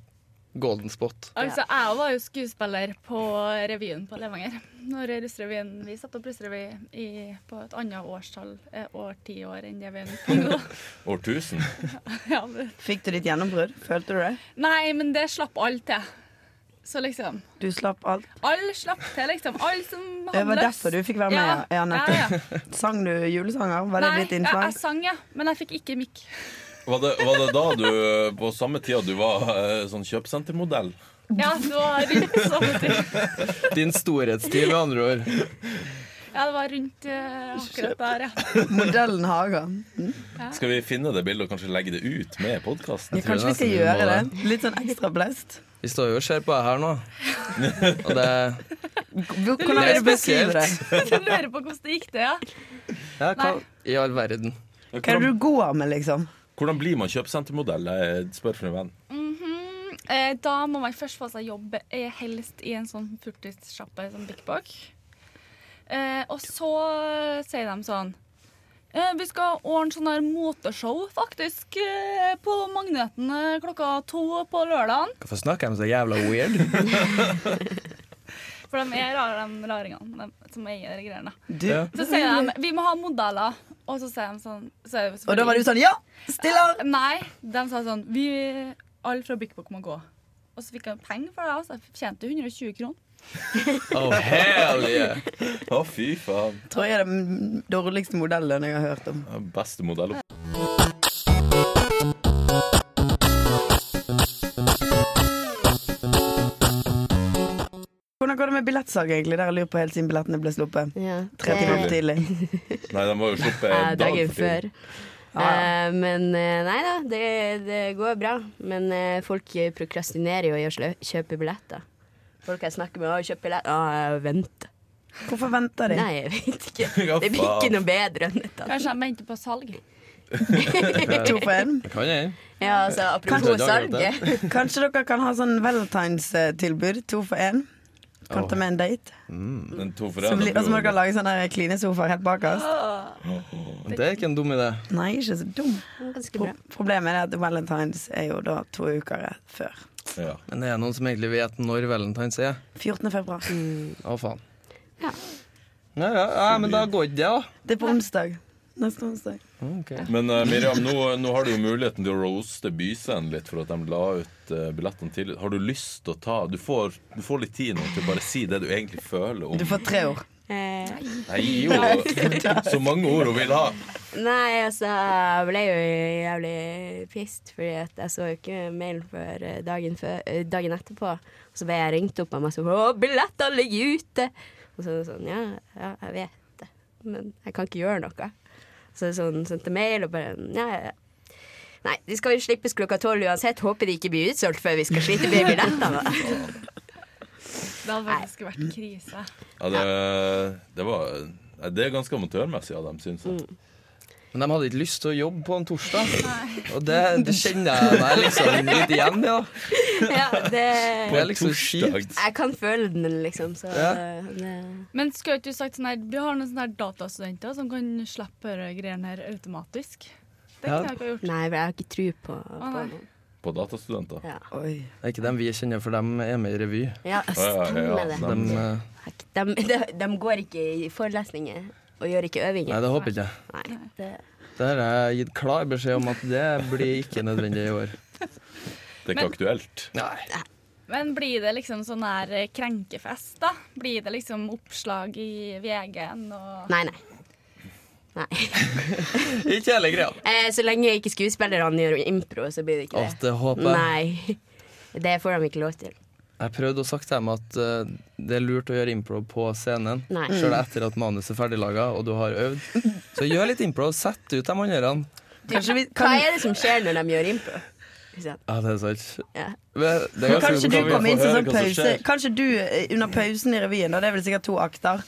Speaker 4: golden spot.
Speaker 1: Altså, jeg var jo skuespiller på revyen på Levanger. Når Russrevyen Vi satte opp russrevy i- på et annet årstall, eh, årtiår, enn det vi er på nå.
Speaker 3: Årtusen.
Speaker 1: Ja, men-
Speaker 2: Fikk du ditt gjennombrudd? Følte du det?
Speaker 1: Nei, men det slapp alle til. Så liksom
Speaker 2: Du slapp alt?
Speaker 1: Alle slapp til, liksom. Alle som
Speaker 2: Det
Speaker 1: hadde
Speaker 2: var derfor du fikk være med? Ja, ja nettopp.
Speaker 1: ja, ja.
Speaker 2: Sang du julesanger? Var det
Speaker 1: Nei,
Speaker 2: ditt
Speaker 1: jeg, jeg
Speaker 2: innslag?
Speaker 1: sang, ja. Men jeg fikk ikke mikk.
Speaker 3: Var det, var det da du, eh, på samme tida du var eh, sånn kjøpesentermodell?
Speaker 1: Ja, det var rundt sånn sånne ting.
Speaker 4: Din storhetstid, med andre ord.
Speaker 1: Ja, det var rundt eh, akkurat der, ja.
Speaker 2: Modellen Haga.
Speaker 3: Skal vi finne det bildet og kanskje legge det ut med podkasten?
Speaker 2: Kanskje
Speaker 4: tror
Speaker 2: vi skal
Speaker 4: nesten vi
Speaker 2: gjøre det?
Speaker 4: må
Speaker 2: Litt sånn ekstra blest.
Speaker 4: Vi står jo og ser på deg her nå. Og det,
Speaker 2: Hvordan vil du beskrive det?
Speaker 1: Du lurer på hvordan det gikk det, ja.
Speaker 4: ja, hva
Speaker 1: Nei.
Speaker 4: i all verden?
Speaker 2: Hva er det
Speaker 3: Hvordan,
Speaker 2: du går med, liksom?
Speaker 3: hvordan blir man kjøpesentermodell? Jeg spør for en venn.
Speaker 1: Mhm. eh, da må man først få seg jobb, eh, helst i en sånn furtissjappe som Big Bog. Eh, og så sier de sånn eh, Vi skal ordne sånn her moteshow, faktisk, eh, på Magneten eh, klokka to på lørdagen.
Speaker 4: Hvorfor snakker de så jævla weird?
Speaker 1: For de er rare, de raringene de, som eier de greiene.
Speaker 2: Du.
Speaker 4: Ja.
Speaker 1: Så sier de vi må ha modeller, og så sier de sånn så er det
Speaker 2: Og da var du sånn Ja! Stiller!
Speaker 1: Nei, de sa sånn vi, Alle fra Big Book må gå. Og så fikk jeg penger for det, altså. Jeg tjente 120 kroner.
Speaker 4: Oh, hell yeah!
Speaker 3: Å, fy faen.
Speaker 2: Tror jeg er den dårligste modellen jeg har hørt om.
Speaker 3: Ja, Beste modell.
Speaker 2: Hvordan går det med billettsak, egentlig? Der jeg lurer på helt siden billettene ble sluppet.
Speaker 6: Ja.
Speaker 2: Tre timer for
Speaker 6: Det-
Speaker 2: tidlig.
Speaker 3: Nei, de var jo sluppet
Speaker 6: Ja,
Speaker 3: en dag
Speaker 6: dagen før.
Speaker 2: Ja,
Speaker 6: Eh, men eh, nei da, det, det går bra. Men eh, folk prokrastinerer jo i å slø- kjøpe billetter. Folk jeg snakker med, har kjøpt billett. Å, vent.
Speaker 2: Hvorfor venter de?
Speaker 6: Nei, jeg vet ikke.
Speaker 3: Ja,
Speaker 6: Det blir ikke noe bedre enn dette.
Speaker 1: Kanskje de venter på salg.
Speaker 2: To for én?
Speaker 4: Det kan jeg.
Speaker 6: Ja, altså, apropos
Speaker 4: Kanskje-
Speaker 6: salget.
Speaker 2: Kanskje dere kan ha sånn valentinstilbud? To for én? Kan ta med en date?
Speaker 3: Den to for
Speaker 2: Så
Speaker 3: en,
Speaker 2: blir- Og så må dere lage sånne der klinesofaer helt bakerst.
Speaker 4: Det er ikke en dum idé.
Speaker 2: Nei, ikke så dum.
Speaker 6: Ganske
Speaker 2: Pro
Speaker 6: bra.
Speaker 2: problemet er at valentines er jo da to uker før.
Speaker 3: Ja.
Speaker 4: Men det er noen som egentlig vet når valentines er.
Speaker 2: 14. februar.
Speaker 6: Mm.
Speaker 4: Å, faen.
Speaker 6: Ja.
Speaker 4: Ja, ja, ja, men da går ikke det, da.
Speaker 2: Det er på onsdag. Neste onsdag.
Speaker 3: Men eh, Miriam, nå, nå har du jo muligheten til å roaste Byscenen litt for at de la ut eh, billettene tidlig. Har du lyst til å ta du får, du får litt tid nå til å bare si det du egentlig føler om
Speaker 2: Du får tre år.
Speaker 6: Eh,
Speaker 3: Nei, jo! Så mange ord hun vil ha.
Speaker 6: nei, altså, jeg ble jo jævlig pissed, fordi at jeg så jo ikke mailen før eh, dagen, før, eh, dagen etterpå. Og så ble jeg ringt opp av meg som Å, billetter ligger ute! Og så er det sånn, ja, ja, jeg vet det, men jeg kan ikke gjøre noe. Så er det sånn, sendte mail og bare Ja, ja, ja. Nei, de skal jo slippes klokka tolv uansett. Håper de ikke blir utsolgt før vi skal slite med billettene.
Speaker 1: Det hadde faktisk vært krise.
Speaker 3: Ja, det, det var nei, Det er ganske amatørmessig av dem, syns
Speaker 4: Mm.
Speaker 3: jeg.
Speaker 4: Men de hadde ikke lyst til å jobbe på en torsdag. Og det, det kjenner jeg meg liksom litt igjen i. Ja.
Speaker 6: ja, det
Speaker 4: Det er liksom
Speaker 3: Torsdag.
Speaker 4: kjipt.
Speaker 6: Jeg kan føle den, liksom, så
Speaker 4: Ja.
Speaker 6: eh, det
Speaker 1: Men skulle ikke du sagt sånn her Vi har noen sånne her datastudenter som kan slippe disse greiene her automatisk. Det
Speaker 4: Ja.
Speaker 1: kunne jeg ikke ha gjort.
Speaker 6: Nei, for jeg har ikke tro på, på
Speaker 1: nei.
Speaker 6: noe.
Speaker 3: På datastudenter.
Speaker 6: Ja.
Speaker 2: Oi.
Speaker 4: Det er ikke dem vi kjenner, for dem er med i revy.
Speaker 3: ja,
Speaker 6: ja,
Speaker 3: ja,
Speaker 6: stemmer det.
Speaker 3: ja.
Speaker 4: Dem, eh,
Speaker 6: De, de, de går ikke i forelesninger og gjør ikke øvinger.
Speaker 4: nei, det håper jeg ikke.
Speaker 6: Nei, det,
Speaker 4: Det har jeg gitt klar beskjed om at det blir ikke nødvendig i år.
Speaker 3: Det er ikke aktuelt.
Speaker 4: Nei.
Speaker 1: Men blir det liksom sånn her eh, krenkefest, da? Blir det liksom oppslag i VG-en og
Speaker 6: Nei, nei. nei.
Speaker 4: Ikke hele greia.
Speaker 6: Eh, så lenge ikke skuespillerne gjør impro, så blir det ikke
Speaker 4: Å,
Speaker 6: det.
Speaker 4: det håper jeg.
Speaker 6: Nei. Det får de ikke lov til.
Speaker 4: Jeg prøvde å sagt til dem at eh, det er lurt å gjøre impro på scenen.
Speaker 6: Nei.
Speaker 4: Selv etter at manuset er ferdiglaga og du har øvd. Så gjør litt impro. Sett ut de andre.
Speaker 2: Kanskje vi
Speaker 6: Hva
Speaker 2: kan
Speaker 6: er det som skjer når de gjør impro? Ikke sant?
Speaker 4: Ja, det er sant.
Speaker 6: Ja.
Speaker 4: Men det er
Speaker 2: Men
Speaker 4: ganske
Speaker 2: kanskje du
Speaker 4: godt.
Speaker 3: kan
Speaker 2: kommer
Speaker 3: vi
Speaker 2: inn
Speaker 3: få
Speaker 2: til sånn
Speaker 3: høre hva som
Speaker 2: pause
Speaker 3: skjer?
Speaker 2: Kanskje du eh, under pausen i revyen, og det er vel sikkert to akter,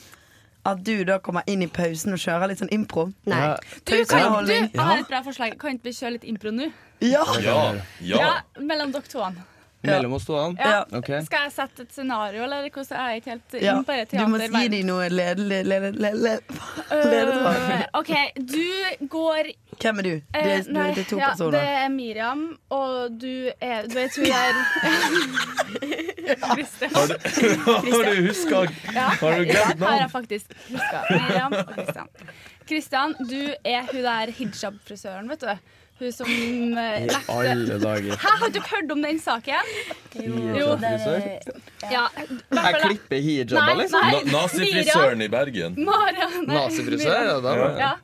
Speaker 2: at du da kommer inn i pausen og kjører litt sånn impro.
Speaker 6: Nei.
Speaker 4: Ja,
Speaker 1: Du, kan, du,
Speaker 2: Pauseunderholdning.
Speaker 1: jeg har et bra forslag. Kan ikke vi kjøre litt impro nå?
Speaker 2: Ja!
Speaker 3: Ja, ja.
Speaker 1: Ja, mellom dere to.
Speaker 4: mellom oss to. an.
Speaker 1: Ja.
Speaker 4: Ok.
Speaker 1: Skal jeg sette et scenario, eller hvordan er jeg ikke helt
Speaker 2: Ja,
Speaker 1: inn på det
Speaker 2: Du må si
Speaker 1: teaterverden?
Speaker 2: dem noe ledelig led, led, led.
Speaker 1: Øh,
Speaker 2: ledetråd.
Speaker 1: OK, du går
Speaker 2: Hvem er du? Det
Speaker 1: eh,
Speaker 2: er, det
Speaker 1: nei,
Speaker 2: er to
Speaker 1: ja, Det
Speaker 2: personer.
Speaker 1: er Miriam, og du er Du vet hun er Kristin.
Speaker 3: Har du huska
Speaker 1: Ja,
Speaker 3: Har du
Speaker 1: ja,
Speaker 3: glemt
Speaker 1: Her
Speaker 3: navn?
Speaker 1: er faktisk huska. Miriam og Kristian. Kristian, du er hun der hijab-frisøren, vet du. Hun som eh,
Speaker 4: I
Speaker 1: lekte
Speaker 4: alle dager.
Speaker 1: Hæ, har du ikke hørt om den saken?
Speaker 4: Hijab frisør?
Speaker 1: Ja,
Speaker 4: Jeg klipper hijaber,
Speaker 1: Nei,
Speaker 4: liksom.
Speaker 3: Na Nazifrisøren i Bergen.
Speaker 1: Marianne.
Speaker 4: Nazifrisør? Ja, da var det.
Speaker 1: Ja.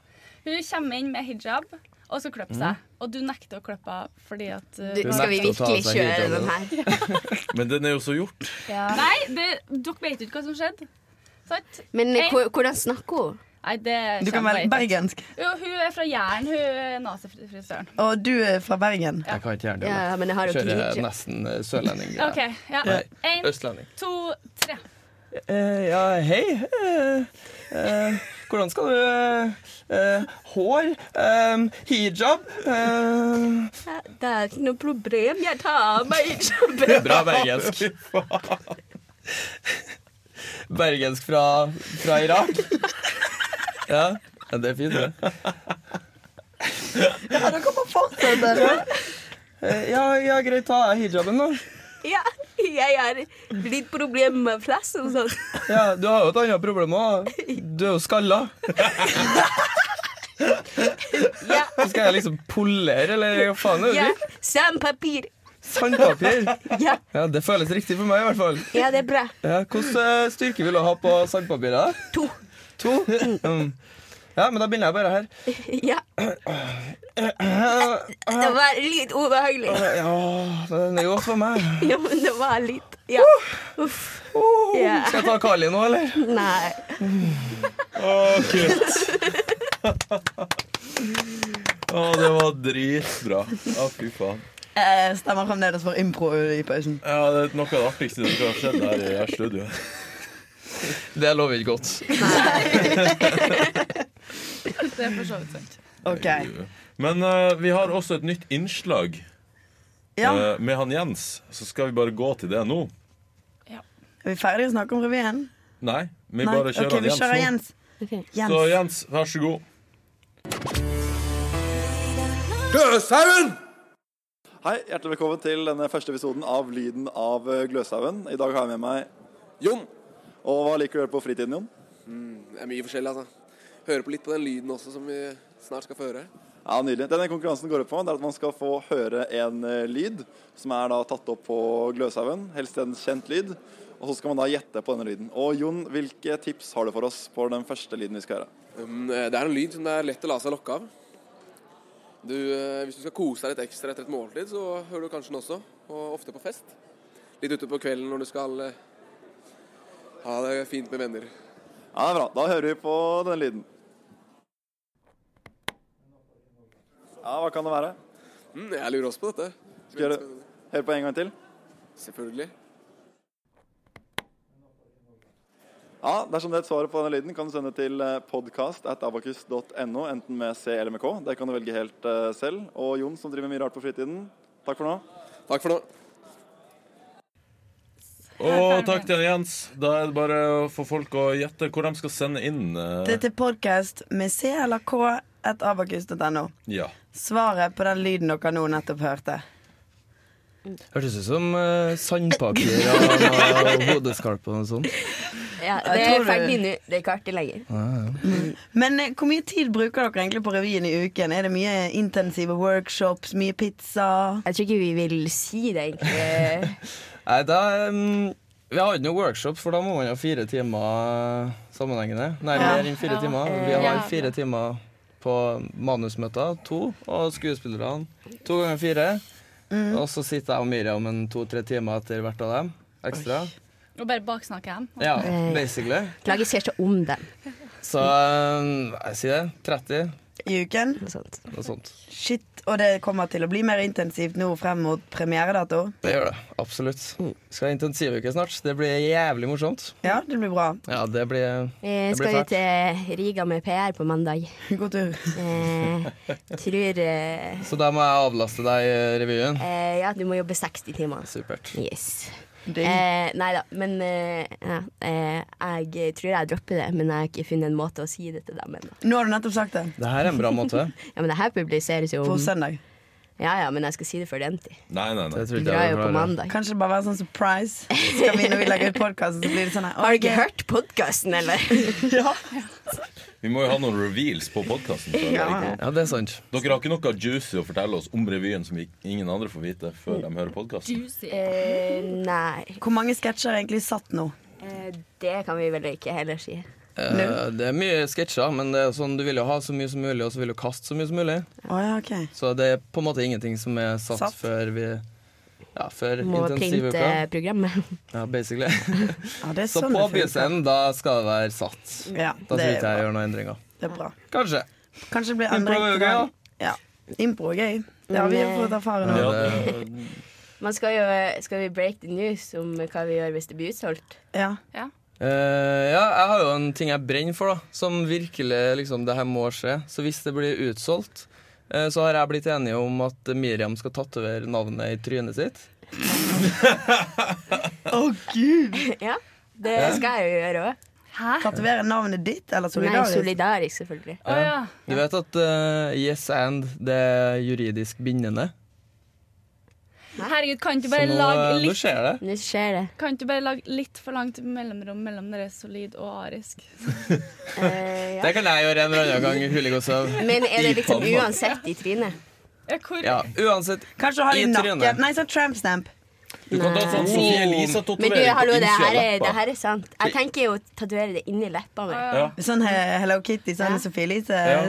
Speaker 1: Hun kommer inn med hijab og skal klippe seg, og du nekter å klippe henne fordi at uh,
Speaker 6: Du, skal vi
Speaker 4: nekter å ta av
Speaker 6: virkelig
Speaker 4: seg
Speaker 6: kjøre
Speaker 4: hijaben.
Speaker 6: den her?
Speaker 3: Men den er jo så gjort.
Speaker 1: Nei, det, dere vet jo ikke hva som skjedde. Sant?
Speaker 6: Men eh,
Speaker 1: Hei.
Speaker 6: hvor- hvordan snakker hun?
Speaker 1: Nei, det
Speaker 2: Du kan
Speaker 1: kommer
Speaker 2: velge
Speaker 1: jeg ikke.
Speaker 2: bergensk.
Speaker 1: Jo, hun er fra Jæren, hun nazifrisøren.
Speaker 2: Og du er fra Bergen.
Speaker 4: Jeg kan ikke gjøre det.
Speaker 6: Ja, men jeg har jo
Speaker 4: Jeg
Speaker 6: ikke
Speaker 4: Kjører
Speaker 6: hijab.
Speaker 4: nesten eh, sørlending.
Speaker 1: OK. Ja.
Speaker 4: Nei.
Speaker 1: Én,
Speaker 4: Østlending.
Speaker 1: to, tre.
Speaker 4: Eh, ja, hei. Eh, eh, hvordan skal du eh, eh, Hår? Eh, hijab? Eh,
Speaker 6: Ja, Det er ikke noe problem, jeg tar av meg hijaben.
Speaker 4: Bra bergensk. bergensk fra, fra Irak. ja. ja, det er fint, det.
Speaker 2: Ja, da kan man fortsette.
Speaker 4: Eh, ja, ja, greit, ta av hijaben, da.
Speaker 6: Ja, jeg har litt problemer med plass og sånn.
Speaker 4: Ja, Du har jo et annet problem òg. Du er jo skalla.
Speaker 6: Ja,
Speaker 4: Skal jeg liksom polere, eller hva faen er det?
Speaker 6: ja,
Speaker 4: du?
Speaker 6: sandpapir.
Speaker 4: Sandpapir.
Speaker 6: Ja,
Speaker 4: Ja, Det føles riktig for meg, i hvert fall.
Speaker 6: ja, det er bra.
Speaker 4: Ja, Hvilken styrke vil du ha på sandpapiret?
Speaker 6: To.
Speaker 4: To? Mm. Ja, men da begynner jeg bare her.
Speaker 6: Ja. Det var litt ubehagelig.
Speaker 4: Ja, den er godt for meg.
Speaker 6: Ja, men det var litt Ja. Uff.
Speaker 4: Oh,
Speaker 6: Ja.
Speaker 4: Skal jeg ta Kali nå, eller?
Speaker 6: Nei.
Speaker 3: Å, det var dritbra. Å, fy faen.
Speaker 2: Eh, Stemmer fremdeles for impro i pausen.
Speaker 3: Ja, det er noe av det artigste som har skjedd her i her studioet.
Speaker 4: Det lover ikke godt.
Speaker 1: Det er for så vidt sant.
Speaker 2: OK.
Speaker 3: Men eh, vi har også et nytt innslag
Speaker 2: Ja,
Speaker 3: eh, med han Jens. Så skal vi bare gå til det nå.
Speaker 2: er vi ferdige å snakke om revyen?
Speaker 3: Nei, vi
Speaker 2: Nei?
Speaker 3: bare
Speaker 2: OK,
Speaker 3: kjører han
Speaker 2: vi
Speaker 3: Jens
Speaker 2: kjører
Speaker 3: nå.
Speaker 2: Jens.
Speaker 6: Ok.
Speaker 2: Jens.
Speaker 3: Så Jens, vær så god.
Speaker 7: Gløshaugen! Hei, hjertelig velkommen til denne første episoden av Lyden av eh, Gløshaugen. I dag har jeg med meg
Speaker 8: Jon!
Speaker 7: Og hva liker du å gjøre på fritiden, Jon?
Speaker 8: Det er mye forskjellig, altså. Hører på litt på den lyden også som vi snart skal få høre.
Speaker 7: Ja, nydelig. Denne konkurransen går ut på det er at man skal få høre en eh, lyd som er da tatt opp på Gløshaugen. Helst en kjent lyd. Og så skal man da gjette på denne lyden. Og Jon, hvilke tips har du for oss på den første lyden vi skal høre?
Speaker 8: Um, eh, Det er en lyd som det er lett å la seg lokke av. Du, eh, hvis du skal kose deg litt ekstra etter et måltid, så hører du kanskje den også. Og ofte på fest. Litt ute på kvelden når du skal eh, ha det fint med venner.
Speaker 7: Ja, det er bra. Da hører vi på denne lyden. Ja, hva kan det være?
Speaker 8: Mm, jeg lurer også på dette.
Speaker 7: Skal jeg høre- høre på en gang til?
Speaker 8: Selvfølgelig.
Speaker 7: Ja, Dersom det er et svar på denne lyden, kan du sende til eh, podkast.abakus.no, enten med C eller med K. Det kan du velge helt eh, selv. Og Jon, som driver med mye rart på fritiden, takk for nå.
Speaker 8: Takk for nå.
Speaker 3: Og takk til han Jens. Da er det bare å få folk å gjette hvor de skal sende inn. eh,
Speaker 2: Det er til podkast med C eller K at abakus.no.
Speaker 3: Ja.
Speaker 2: Svaret på den lyden dere nå nettopp hørte.
Speaker 4: Hørtes ut som eh, sandpapir og, og hodeskalp og noe sånt.
Speaker 6: Ja,
Speaker 2: Jeg
Speaker 6: det er
Speaker 2: tror du-
Speaker 6: ferdig nå. Det er ikke artig lenger.
Speaker 2: Men eh, hvor mye tid bruker dere egentlig på revyen i uken? Er det mye intensive workshops, mye pizza?
Speaker 6: Jeg tror ikke vi vil si det, egentlig.
Speaker 4: Nei, da um, Vi har ikke noe workshop, for da må man ha fire timer sammenhengende. Nei, mer enn fire
Speaker 1: Ja.
Speaker 4: timer. Vi har
Speaker 1: Ja.
Speaker 4: fire timer på manusmøter, to, og skuespillerne to ganger fire.
Speaker 1: Mm.
Speaker 4: Og så sitter jeg og Miriam en to-tre timer etter hvert av dem ekstra.
Speaker 1: Og bare baksnakke dem.
Speaker 4: Ja,
Speaker 6: Oi.
Speaker 4: basically.
Speaker 6: Klager ser seg om dem.
Speaker 4: Så um, jeg sier det. 30,
Speaker 2: i uken?
Speaker 6: Noe sånt.
Speaker 4: noe sånt.
Speaker 2: Shit, og det kommer til å bli mer intensivt nå frem mot premieredato.
Speaker 4: Det gjør det. Absolutt. Skal ha intensivuke snart. Det blir jævlig morsomt.
Speaker 2: Ja, det blir bra.
Speaker 4: Ja, det blir
Speaker 6: Eh,
Speaker 4: Det blir
Speaker 6: skal vi
Speaker 4: fælt.
Speaker 6: til Riga med PR på mandag.
Speaker 2: God tur.
Speaker 6: Eh, tror eh,
Speaker 4: Så da må jeg avlaste deg eh, revyen.
Speaker 6: eh, Ja, du må jobbe 60 timer.
Speaker 4: Supert.
Speaker 6: Yes.
Speaker 2: Digg.
Speaker 6: Eh, nei da, men eh, ja, eh, jeg tror jeg dropper det. Men jeg har ikke funnet en måte å si det til dem ennå.
Speaker 2: Nå har du nettopp sagt det.
Speaker 4: Det her er en bra måte.
Speaker 6: Ja, men det her publiseres jo
Speaker 2: På
Speaker 6: om
Speaker 2: søndag.
Speaker 6: Ja ja, men jeg skal si det før den tid.
Speaker 3: Nei, nei, nei.
Speaker 4: Det tror
Speaker 6: Du
Speaker 4: ikke
Speaker 6: drar
Speaker 4: jeg
Speaker 6: jo
Speaker 4: du
Speaker 6: på
Speaker 4: klarer.
Speaker 6: mandag.
Speaker 2: Kanskje det bare være sånn surprise. Skal vi, når vi lager ut podkasten, så blir det sånn her.
Speaker 6: Har du ikke hørt podkasten, eller?
Speaker 3: Vi må jo ha noen reveals på podkasten.
Speaker 2: Ja.
Speaker 4: Ja, det er sant.
Speaker 3: Dere har ikke noe juicy å fortelle oss om revyen som vi- ingen andre får vite før de hører podkasten?
Speaker 1: Juicy.
Speaker 6: eh, nei.
Speaker 2: Hvor mange sketsjer er egentlig satt nå?
Speaker 6: Eh, det kan vi vel ikke heller si.
Speaker 4: Eh, det er mye sketsjer, men det er sånn, du vil jo ha så mye som mulig, og så vil du kaste så mye som mulig.
Speaker 2: Å ja, ok.
Speaker 4: Så det er på en måte ingenting som er satt,
Speaker 2: Satt.
Speaker 4: før vi Ja, før
Speaker 6: Må
Speaker 4: intensivuka.
Speaker 6: printe programmet.
Speaker 4: Ja, basically.
Speaker 2: Ja, det er
Speaker 4: Så
Speaker 2: sånn
Speaker 4: på
Speaker 2: det funker.
Speaker 4: byscenen, da skal det være satt.
Speaker 2: Ja,
Speaker 4: Da
Speaker 2: det
Speaker 4: tror
Speaker 2: er
Speaker 4: ikke jeg
Speaker 2: bra.
Speaker 4: gjør noen endringer.
Speaker 2: Det er bra.
Speaker 4: Kanskje.
Speaker 2: Kanskje det blir andre
Speaker 4: Impro er jo gøy, da.
Speaker 2: Ja. Impro er gøy. Det har vi jo fått erfare nå.
Speaker 3: Ja,
Speaker 4: eh,
Speaker 3: det,
Speaker 6: Man skal jo Skal vi break the news om hva vi gjør hvis det blir utsolgt?
Speaker 2: Ja.
Speaker 1: Ja.
Speaker 4: Eh, ja, jeg har jo en ting jeg brenner for, da. Som virkelig liksom, det her må skje. Så hvis det blir utsolgt, eh, så har jeg blitt enig om at Miriam skal tatovere navnet i trynet sitt.
Speaker 6: ja, det skal jeg jo gjøre òg.
Speaker 1: Hæ?
Speaker 2: Tatovere navnet ditt eller
Speaker 6: Nei,
Speaker 2: solidarisk?
Speaker 6: solidarisk, selvfølgelig.
Speaker 1: Å ja.
Speaker 4: Du vet at eh, yes and det er juridisk bindende?
Speaker 1: Herregud, kan du
Speaker 4: Så
Speaker 1: bare
Speaker 4: nå, eh,
Speaker 1: lage
Speaker 4: nå
Speaker 1: litt
Speaker 4: skjer det.
Speaker 6: Nå skjer det.
Speaker 1: Kan du bare lage litt for langt mellomrom mellom dere solid og arisk?
Speaker 6: Eh, ja.
Speaker 4: Det kan jeg gjøre en eller annen gang. Huligosøv.
Speaker 6: Men er det liksom uansett i trynet?
Speaker 1: Ja, hvor
Speaker 4: Ja, uansett.
Speaker 2: Kanskje ha det i
Speaker 4: I trynet.
Speaker 2: nakken. Nei, sånn tramp stamp.
Speaker 3: du kan ta sånn Sofie
Speaker 6: Men du,
Speaker 3: Elise-tatovering på
Speaker 6: hallo, det
Speaker 3: innsida
Speaker 6: her,
Speaker 3: av
Speaker 6: er, det
Speaker 3: leppa.
Speaker 6: her er sant. Jeg tenker jo å tatovere det inni leppa mi.
Speaker 1: Ja.
Speaker 3: Ja.
Speaker 2: Sånn eh, Hello Kitty, sånn
Speaker 6: Ja.
Speaker 2: Sophie Elise.
Speaker 6: Ja,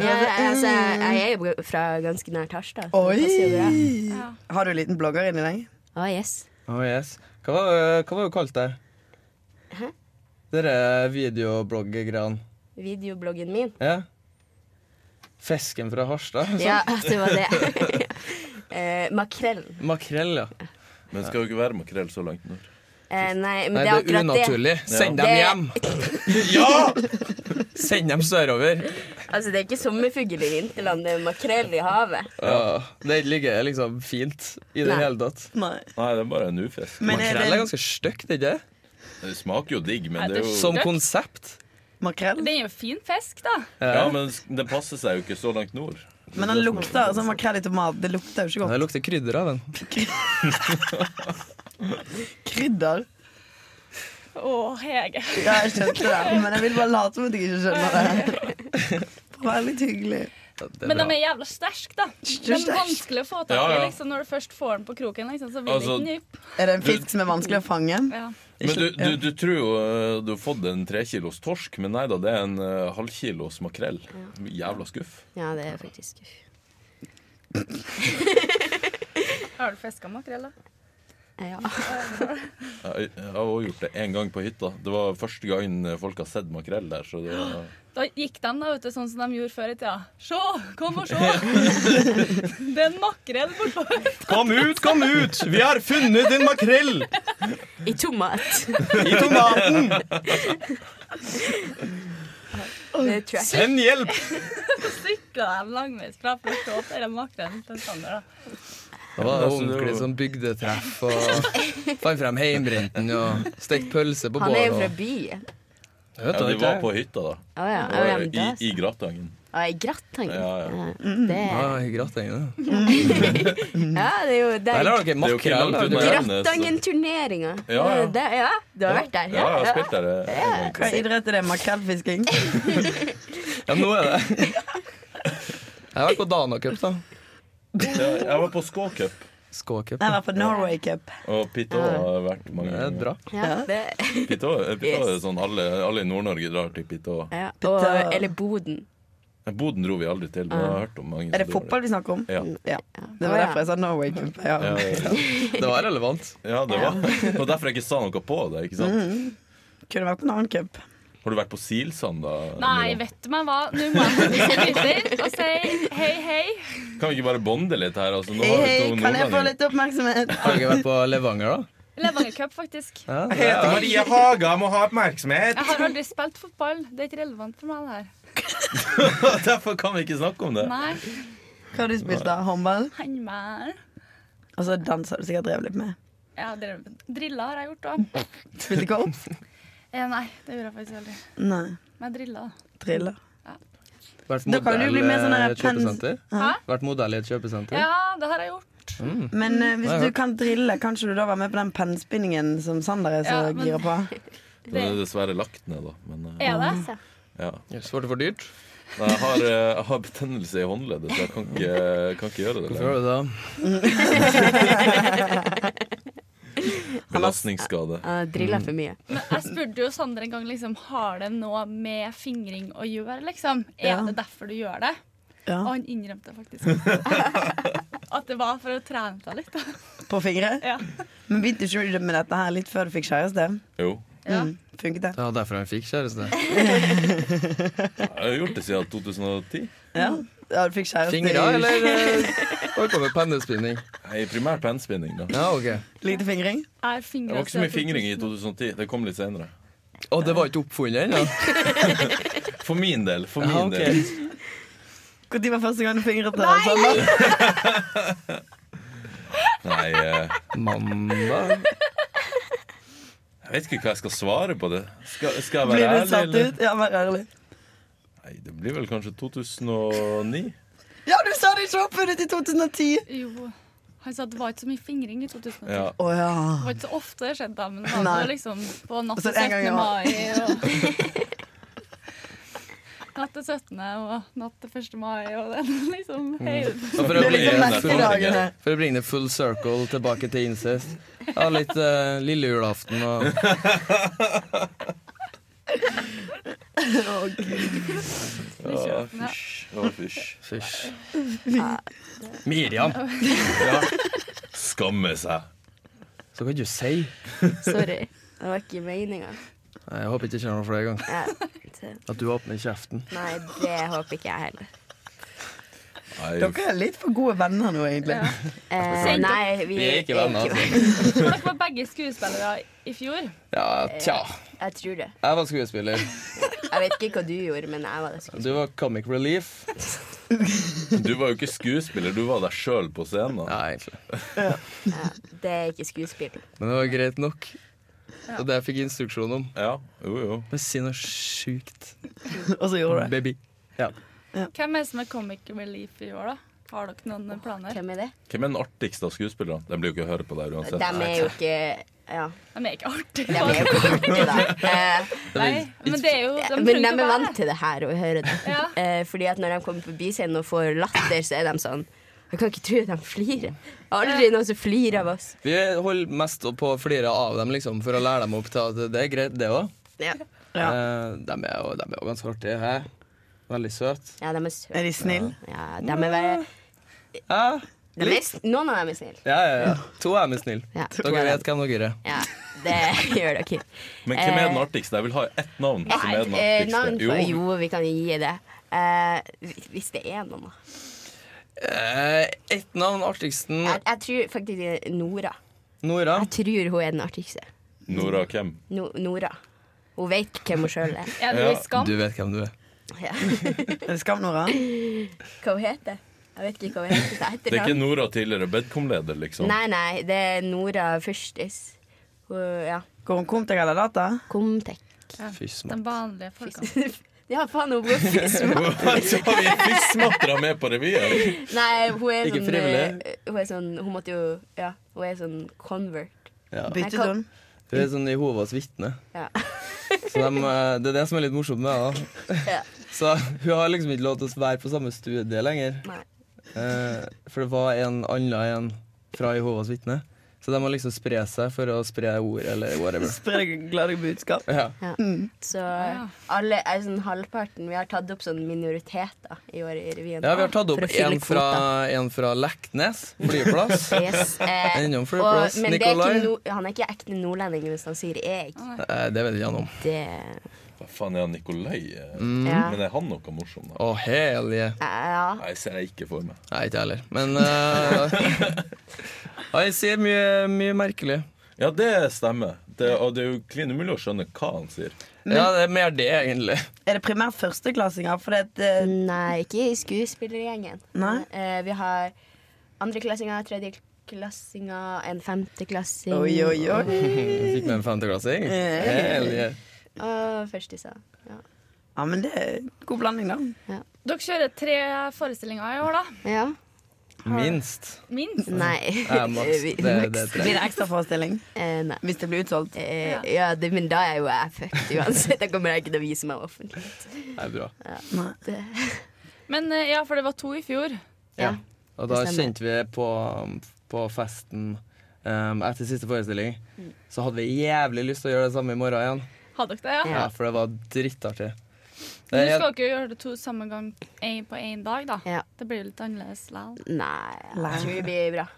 Speaker 6: altså, jeg er jo fra ganske nær Harstad. så det passer jo bra.
Speaker 2: Oi!
Speaker 1: Ja.
Speaker 2: Har du en liten blogger inni deg?
Speaker 6: Å, yes.
Speaker 4: Oh, yes. Hva var det- hva var det eh, kalt der? Dere videoblogger-greiene.
Speaker 6: Videobloggen min.
Speaker 4: Ja. Fesken fra Harstad.
Speaker 6: Ja, det var det. eh, makrellen.
Speaker 4: Makrell, ja.
Speaker 3: Men skal jo ikke være makrell så langt nord.
Speaker 6: Eh, nei, men
Speaker 4: Nei, det
Speaker 6: det er
Speaker 4: er
Speaker 6: akkurat det.
Speaker 4: unaturlig. Send dem
Speaker 6: Det-
Speaker 4: hjem! ja! Send dem sørover.
Speaker 6: Altså, det er ikke sommerfugl i vinterland, det er makrell i havet.
Speaker 4: Ja, det ligger liksom fint i det
Speaker 6: Nei.
Speaker 4: hele tatt.
Speaker 2: Nei.
Speaker 3: Nei, det er bare en ufisk.
Speaker 2: Men er
Speaker 4: Makrell
Speaker 2: det
Speaker 4: er ganske stygt, ikke det?
Speaker 3: Det smaker jo digg, men
Speaker 1: Nei,
Speaker 3: det er
Speaker 1: det-
Speaker 3: jo
Speaker 4: Som konsept.
Speaker 2: makrell?
Speaker 1: Den er jo fin fisk, da.
Speaker 3: Ja, men den passer seg jo ikke så langt nord.
Speaker 2: Men den lukter sånn makrell i tomat. Det lukter jo ikke
Speaker 4: Det
Speaker 2: godt.
Speaker 4: lukter krydder av den.
Speaker 2: Krydder.
Speaker 1: Å, Hege.
Speaker 2: Ja, jeg skjønte det, men jeg vil bare late som at jeg ikke skjønner det. Bare litt hyggelig.
Speaker 4: Ja, det
Speaker 1: Men
Speaker 4: er
Speaker 1: de
Speaker 4: bra.
Speaker 1: er jævla sterke, da. De er
Speaker 2: sterk.
Speaker 1: vanskelig å få tak i
Speaker 3: Ja, ja.
Speaker 1: liksom, når du først får den på kroken. Liksom, så vil
Speaker 3: Altså-
Speaker 1: den nyp.
Speaker 2: Er det en fisk som er vanskelig å fange?
Speaker 1: Ja.
Speaker 3: Men du, du, du tror jo eh, du har fått en trekilos torsk, men nei da, det er en eh, halvkilos makrell. Jævla skuff.
Speaker 6: Ja, det er faktisk uff.
Speaker 1: Har du fiska makrell, da?
Speaker 6: Ja.
Speaker 3: Jeg, jeg har også gjort det én gang på hytta. Det var første gangen folk har sett makrell der. Så det var,
Speaker 1: Da gikk de da, vet du, sånn som de gjorde før i tida. Se! Kom og se! Det er en makrell bortpå
Speaker 4: Kom ut, kom ut! Vi har funnet en makrell
Speaker 6: I tomat.
Speaker 4: i tomaten!
Speaker 6: Det tror jeg.
Speaker 4: Send hjelp!
Speaker 1: Sykla de langveis fra for å se at det er makrell til Sander, da.
Speaker 4: Det var
Speaker 3: Ja, altså, det
Speaker 4: ordentlig
Speaker 3: var-
Speaker 4: sånn bygdetreff og fant frem heimbrenten og stekt pølse på
Speaker 6: Han er jo fra
Speaker 4: bålet.
Speaker 6: byen.
Speaker 4: Ja,
Speaker 3: ja, de var på hytta, da.
Speaker 6: Å ja.
Speaker 3: Det var
Speaker 6: men da
Speaker 3: eh, I, i Gratangen.
Speaker 6: Ai, grattang.
Speaker 3: Ja, ja.
Speaker 6: Det,
Speaker 4: Nei, gratengene.
Speaker 6: ja, det er jo
Speaker 4: Der
Speaker 3: Det
Speaker 4: har dere
Speaker 6: der.
Speaker 3: er jo ikke
Speaker 4: makrell.
Speaker 3: langt
Speaker 4: da.
Speaker 3: unna.
Speaker 6: Grattangen-turneringa.
Speaker 3: Ja, ja.
Speaker 6: Det, ja, du har vært der?
Speaker 3: Ja, jeg har spilt der. eh, en gang.
Speaker 2: Hva idrett er det? Makrellfisking?
Speaker 4: Ja, nå er det Jeg har vært på Dana Cup, da.
Speaker 3: Ja, Jeg var på Skåcup,
Speaker 4: Skå-cup.
Speaker 2: Jeg var på Norway Cup.
Speaker 3: og Pitå har vært mange
Speaker 4: Det er bra.
Speaker 3: ganger.
Speaker 6: Ja, det,
Speaker 3: Pitå, eh, Pitå er sånn alle, alle i Nord-Norge drar til Pitå.
Speaker 6: ja. Og, eller Boden.
Speaker 3: Eh, Boden dro vi aldri til, men jeg har hørt om mange som
Speaker 2: Er det
Speaker 3: drar
Speaker 2: fotball vi snakker om?
Speaker 3: Ja.
Speaker 2: Ja. Det var derfor jeg sa Norway Cup. Ja.
Speaker 3: Ja, ja, ja.
Speaker 4: Det var relevant.
Speaker 3: ja, det var Det var derfor jeg ikke sa noe på det. ikke sant?
Speaker 2: Kunne vært på en annen cup.
Speaker 3: Har du vært på Silsand, da?
Speaker 1: Nei,
Speaker 3: Miriam?
Speaker 1: vet du meg hva? Nå må jeg faktisk videre og si hei, hei.
Speaker 3: Kan vi ikke bare bonde litt her? Altså, nå
Speaker 2: Hei,
Speaker 3: har vi
Speaker 2: hei,
Speaker 3: to
Speaker 2: kan jeg få
Speaker 3: nordmenn
Speaker 2: litt oppmerksomhet?
Speaker 4: Har dere vært på Levanger, da?
Speaker 1: Levanger Cup, faktisk.
Speaker 4: Ja, det
Speaker 9: Heter
Speaker 4: er-
Speaker 9: Marie Haga, må ha oppmerksomhet.
Speaker 1: Jeg har aldri spilt fotball. Det er ikke relevant for meg, det her.
Speaker 3: Derfor kan vi ikke snakke om det.
Speaker 1: Nei,
Speaker 2: Hva har du spilt da? Håndball?
Speaker 1: handball
Speaker 2: Og så dans har du sikkert drevet litt med.
Speaker 1: Ja, drev- drilla har jeg gjort òg.
Speaker 2: Spilte golf?
Speaker 1: Eh, nei, det gjorde jeg faktisk aldri.
Speaker 2: Nei.
Speaker 1: Men jeg drilla. da.
Speaker 2: Driller.
Speaker 4: Vært
Speaker 2: Da kan du
Speaker 4: modell
Speaker 2: bli med
Speaker 4: eh,
Speaker 2: sånn her pens-
Speaker 4: kjøpesenter?
Speaker 1: Hæ?
Speaker 4: Vært modell i et kjøpesenter?
Speaker 1: Ja, det har jeg gjort.
Speaker 2: Men eh, hvis
Speaker 4: Nei,
Speaker 2: du
Speaker 4: ja.
Speaker 2: kan drille, kan ikke du da være med på den pennspinningen som Sander er så
Speaker 1: Ja, men-
Speaker 2: gira på?
Speaker 3: Den er dessverre lagt ned, da. Men, eh,
Speaker 1: Er det?
Speaker 3: ja.
Speaker 4: Yes, var det for dyrt?
Speaker 3: Nei, jeg, har, eh, jeg har betennelse i håndleddet, så jeg kan ikke, kan ikke gjøre det.
Speaker 4: Hvorfor
Speaker 3: lenger.
Speaker 4: var det da?
Speaker 3: Belastningsskade.
Speaker 6: Ja, Drilla for mye.
Speaker 1: Men jeg spurte jo Sander en gang liksom, har det noe med fingring å gjøre. Liksom? Er
Speaker 2: Ja.
Speaker 1: det derfor du gjør det?
Speaker 2: Ja.
Speaker 1: Og han innrømte faktisk at det var for å trene deg litt. Da.
Speaker 2: På fingre?
Speaker 1: Ja.
Speaker 2: Men begynte ikke du med dette her litt før du fikk kjæreste?
Speaker 3: Jo.
Speaker 1: Ja.
Speaker 2: Mm, funket det?
Speaker 4: Det var derfor han fikk kjæreste.
Speaker 3: Jeg har gjort det siden 2010.
Speaker 2: Ja, ja du fikk kjæreste
Speaker 4: Fingre,
Speaker 2: i-
Speaker 4: eller eh, holdt på med pennespinning?
Speaker 3: Nei, primært pennspinning, da.
Speaker 4: Ja, ok.
Speaker 2: Lite fingring?
Speaker 1: Er
Speaker 3: Det
Speaker 1: fingre
Speaker 3: var ikke så mye
Speaker 1: siden
Speaker 3: fingring i
Speaker 1: 2000.
Speaker 3: 2010. Det kom litt senere.
Speaker 4: Å, det var ikke oppfunnet ennå?
Speaker 3: For min del. For min
Speaker 4: Ja, ok.
Speaker 3: del.
Speaker 2: Når var første gang du fingret? Sander?
Speaker 3: Nei, eh,
Speaker 4: Mandag?
Speaker 3: jeg vet ikke hva jeg skal svare på det. Skal, skal jeg
Speaker 2: Blir du
Speaker 3: være ærlig?
Speaker 2: satt
Speaker 3: Eller?
Speaker 2: ut? Ja, vær ærlig.
Speaker 3: Nei, det blir vel kanskje 2009.
Speaker 2: Ja, du sa det ikke oppfunnet i 2010!
Speaker 1: Jo. Han sa at det var ikke så mye fingring i 2010.
Speaker 3: Ja.
Speaker 2: Å ja.
Speaker 1: Det var ikke så ofte det skjedde, da, men det
Speaker 2: Nei.
Speaker 1: var liksom på natt
Speaker 2: Og så
Speaker 1: til 17.
Speaker 2: en gang i år.
Speaker 1: mai. Og natt til 17. og natt til 1. mai og den liksom hele
Speaker 4: Og for,
Speaker 2: Det er
Speaker 4: å bringe,
Speaker 2: liksom
Speaker 3: Blir
Speaker 2: merkedagene.
Speaker 4: for å bringe det full circle tilbake til incest. Ja, litt eh, lille julaften og
Speaker 3: Ja, fysj. Ja, fysj.
Speaker 4: Fysj. Miriam!
Speaker 3: Skamme seg.
Speaker 4: Så kan du si.
Speaker 6: Sorry. Det var ikke meninga.
Speaker 4: Nei, Jeg håper ikke det skjer noe flere ganger.
Speaker 6: Ja.
Speaker 4: At du åpner kjeften.
Speaker 6: Nei, det håper ikke jeg heller.
Speaker 3: Nei,
Speaker 2: Dere er litt for gode venner nå, egentlig.
Speaker 6: Eh, nei, vi,
Speaker 4: Vi er ikke venner, altså.
Speaker 1: For dere var begge skuespillere i fjor.
Speaker 4: Ja, tja.
Speaker 6: Jeg tror det.
Speaker 4: Jeg var skuespiller.
Speaker 6: Jeg vet ikke hva du gjorde, men jeg var det.
Speaker 4: Du var comic relief.
Speaker 3: Du var jo ikke skuespiller, du var deg sjøl på scenen.
Speaker 4: Ja, egentlig.
Speaker 6: Ja, det er ikke skuespill.
Speaker 4: Men det var greit nok. Og det jeg fikk instruksjon om.
Speaker 3: Ja, jo, jo.
Speaker 4: Men si noe sjukt,
Speaker 2: Og så gjorde du det.
Speaker 4: baby.
Speaker 1: Hvem er det som er comic relief i år, da? Har dere noen planer?
Speaker 6: Hvem er det?
Speaker 3: Hvem er den artigste av skuespillerne? De blir jo ikke å høre på deg
Speaker 6: De
Speaker 3: uansett.
Speaker 6: er jo ikke Ja,
Speaker 1: De er ikke
Speaker 6: de er
Speaker 1: artige.
Speaker 6: jo ikke artige, da. Eh,
Speaker 1: Nei, men det er jo de
Speaker 6: men de
Speaker 1: trenger ikke
Speaker 6: er
Speaker 1: å være
Speaker 6: vant til det her og hører det.
Speaker 1: Ja.
Speaker 6: Eh, fordi at når de kommer forbi scenen og får latter, så er de sånn Jeg kan ikke tro at de flirer. Jeg har Aldri noen som flirer av oss.
Speaker 4: Vi holder mest på å flire av dem, liksom, for å lære dem opp til at det er greit, det òg.
Speaker 2: Ja.
Speaker 6: Ja,
Speaker 4: De Eh, er jo de er jo ganske artige. Hæ? Veldig søte.
Speaker 6: ja de er
Speaker 2: Er
Speaker 6: søte.
Speaker 2: de snille?
Speaker 6: Ja, de er bare,
Speaker 4: Ja,
Speaker 6: de er, s- noen av dem er snille.
Speaker 4: ja, ja. ja. To er med snill.
Speaker 6: Ja.
Speaker 4: Dere vet hvem dere er.
Speaker 6: Ja, det gjør dere.
Speaker 3: Men hvem er den artigste? Jeg vil ha ett navn som er den
Speaker 6: Eh, navn på
Speaker 3: artigste.
Speaker 6: Jo,
Speaker 3: Jo,
Speaker 6: vi kan gi det. Eh, hvis det er noen, da.
Speaker 4: Eh, Ett navn, artigsten.
Speaker 6: Jeg, jeg tror faktisk det er Nora.
Speaker 4: Nora.
Speaker 6: Jeg tror hun er den artigste.
Speaker 3: Nora hvem?
Speaker 6: No, Nora. Hun vet hvem hun sjøl er.
Speaker 1: Er det
Speaker 3: Ja,
Speaker 1: i skam?
Speaker 4: Du vet hvem du er.
Speaker 6: Ja.
Speaker 2: Er det Skam, Nora?
Speaker 6: Hva hun heter Jeg vet ikke hva hun heter. til
Speaker 3: Det er ikke
Speaker 6: etternavn.
Speaker 3: Nora tidligere Bedcom-leder, liksom.
Speaker 6: Nei, nei, det er Nora Fyrstis. Hun, ja.
Speaker 2: Går hun kom til eller data?
Speaker 6: Comtec.
Speaker 4: Fy smatt.
Speaker 1: De vanlige folkene.
Speaker 6: De har faen noe god fisk.
Speaker 3: Så har vi fiskmattera med på revyen!
Speaker 6: Nei, hun er
Speaker 4: Ikke
Speaker 6: sånn
Speaker 4: frivillig?
Speaker 6: eh, Hun er sånn Hun måtte jo Ja, hun er sånn convert.
Speaker 4: Ja.
Speaker 2: Byttet hun?
Speaker 4: Hun er sånn Jehovas vitne.
Speaker 6: Ja.
Speaker 4: Så dem, eh, det er det som er litt morsomt med henne.
Speaker 6: Ja.
Speaker 4: Så hun har liksom ikke lov til å være på samme studie lenger.
Speaker 6: Nei.
Speaker 4: Eh, for det var en annen en fra Jehovas vitne. Så de må liksom spre seg for å spre ord eller whatever.
Speaker 2: Spre glade budskap.
Speaker 4: Ja.
Speaker 6: Så
Speaker 1: Ja.
Speaker 6: alle er sånn halvparten Vi har tatt opp sånn minoriteter i år i revyen.
Speaker 4: ja, vi har tatt opp
Speaker 6: For å fylle
Speaker 4: en fra, en fra Leknes flyplass.
Speaker 6: kvota. Yes. Eh,
Speaker 4: Innom
Speaker 6: og,
Speaker 4: flyplass.
Speaker 6: men det er
Speaker 4: Nikolai.
Speaker 6: ikke no, han er ikke ekte nordlending hvis han sier 'eg'.
Speaker 4: Eh, det vet ikke han om.
Speaker 6: Det
Speaker 3: Hva faen er han Nikolai? eh?
Speaker 4: Mm.
Speaker 6: Ja.
Speaker 3: Men er han noe morsom, da?
Speaker 4: Å, helje.
Speaker 6: ja.
Speaker 3: Nei, ser jeg ikke for meg.
Speaker 4: Nei, ikke jeg heller. Men eh, ja, jeg sier mye, mye merkelig.
Speaker 3: Ja, det stemmer. Det, og det er jo klin umulig å skjønne hva han sier.
Speaker 4: Ja, det er mer det, egentlig.
Speaker 2: Er det primært førsteklassinger? For det, eh, er et,
Speaker 6: Nei, ikke i skuespillergjengen.
Speaker 2: Nei?
Speaker 6: Eh, vi har andreklassinger, tredjeklassinger, en femteklassing
Speaker 2: eh, Oi, oi, oi.
Speaker 4: Jeg fikk med en femteklassing. Helje.
Speaker 6: og førstisa. Ja.
Speaker 2: Ja, men det er en god blanding, da.
Speaker 1: Dere kjører tre forestillinger i år, da.
Speaker 6: ja.
Speaker 4: Minst.
Speaker 1: Minst.
Speaker 6: Nei.
Speaker 4: Ja, maks.
Speaker 6: Vi-
Speaker 4: Det, det tror
Speaker 2: Blir
Speaker 4: jeg.
Speaker 2: det ekstraforestilling
Speaker 6: Eh, nei.
Speaker 2: hvis det blir utsolgt?
Speaker 6: Eh, ja, det, men da er jo jeg fucked uansett. Da kommer jeg ikke til å vise meg offentlig.
Speaker 4: Det er bra.
Speaker 1: Men eh, ja, for det var to i fjor.
Speaker 6: Ja.
Speaker 4: Og da
Speaker 6: Det stemmer.
Speaker 4: kjente vi på, på festen em, etter siste forestilling, så hadde vi jævlig lyst til å gjøre det samme i morgen igjen.
Speaker 1: Hadde dere det? ja?
Speaker 6: Ja.
Speaker 4: Ja, For det var drittartig. Det
Speaker 1: Men
Speaker 4: er
Speaker 1: du skal
Speaker 4: helt-
Speaker 1: ikke gjøre det to samme gang en, på én dag, da.
Speaker 6: Ja.
Speaker 1: Det blir jo litt annerledes likevel.
Speaker 6: Nei, jeg tror det blir bra.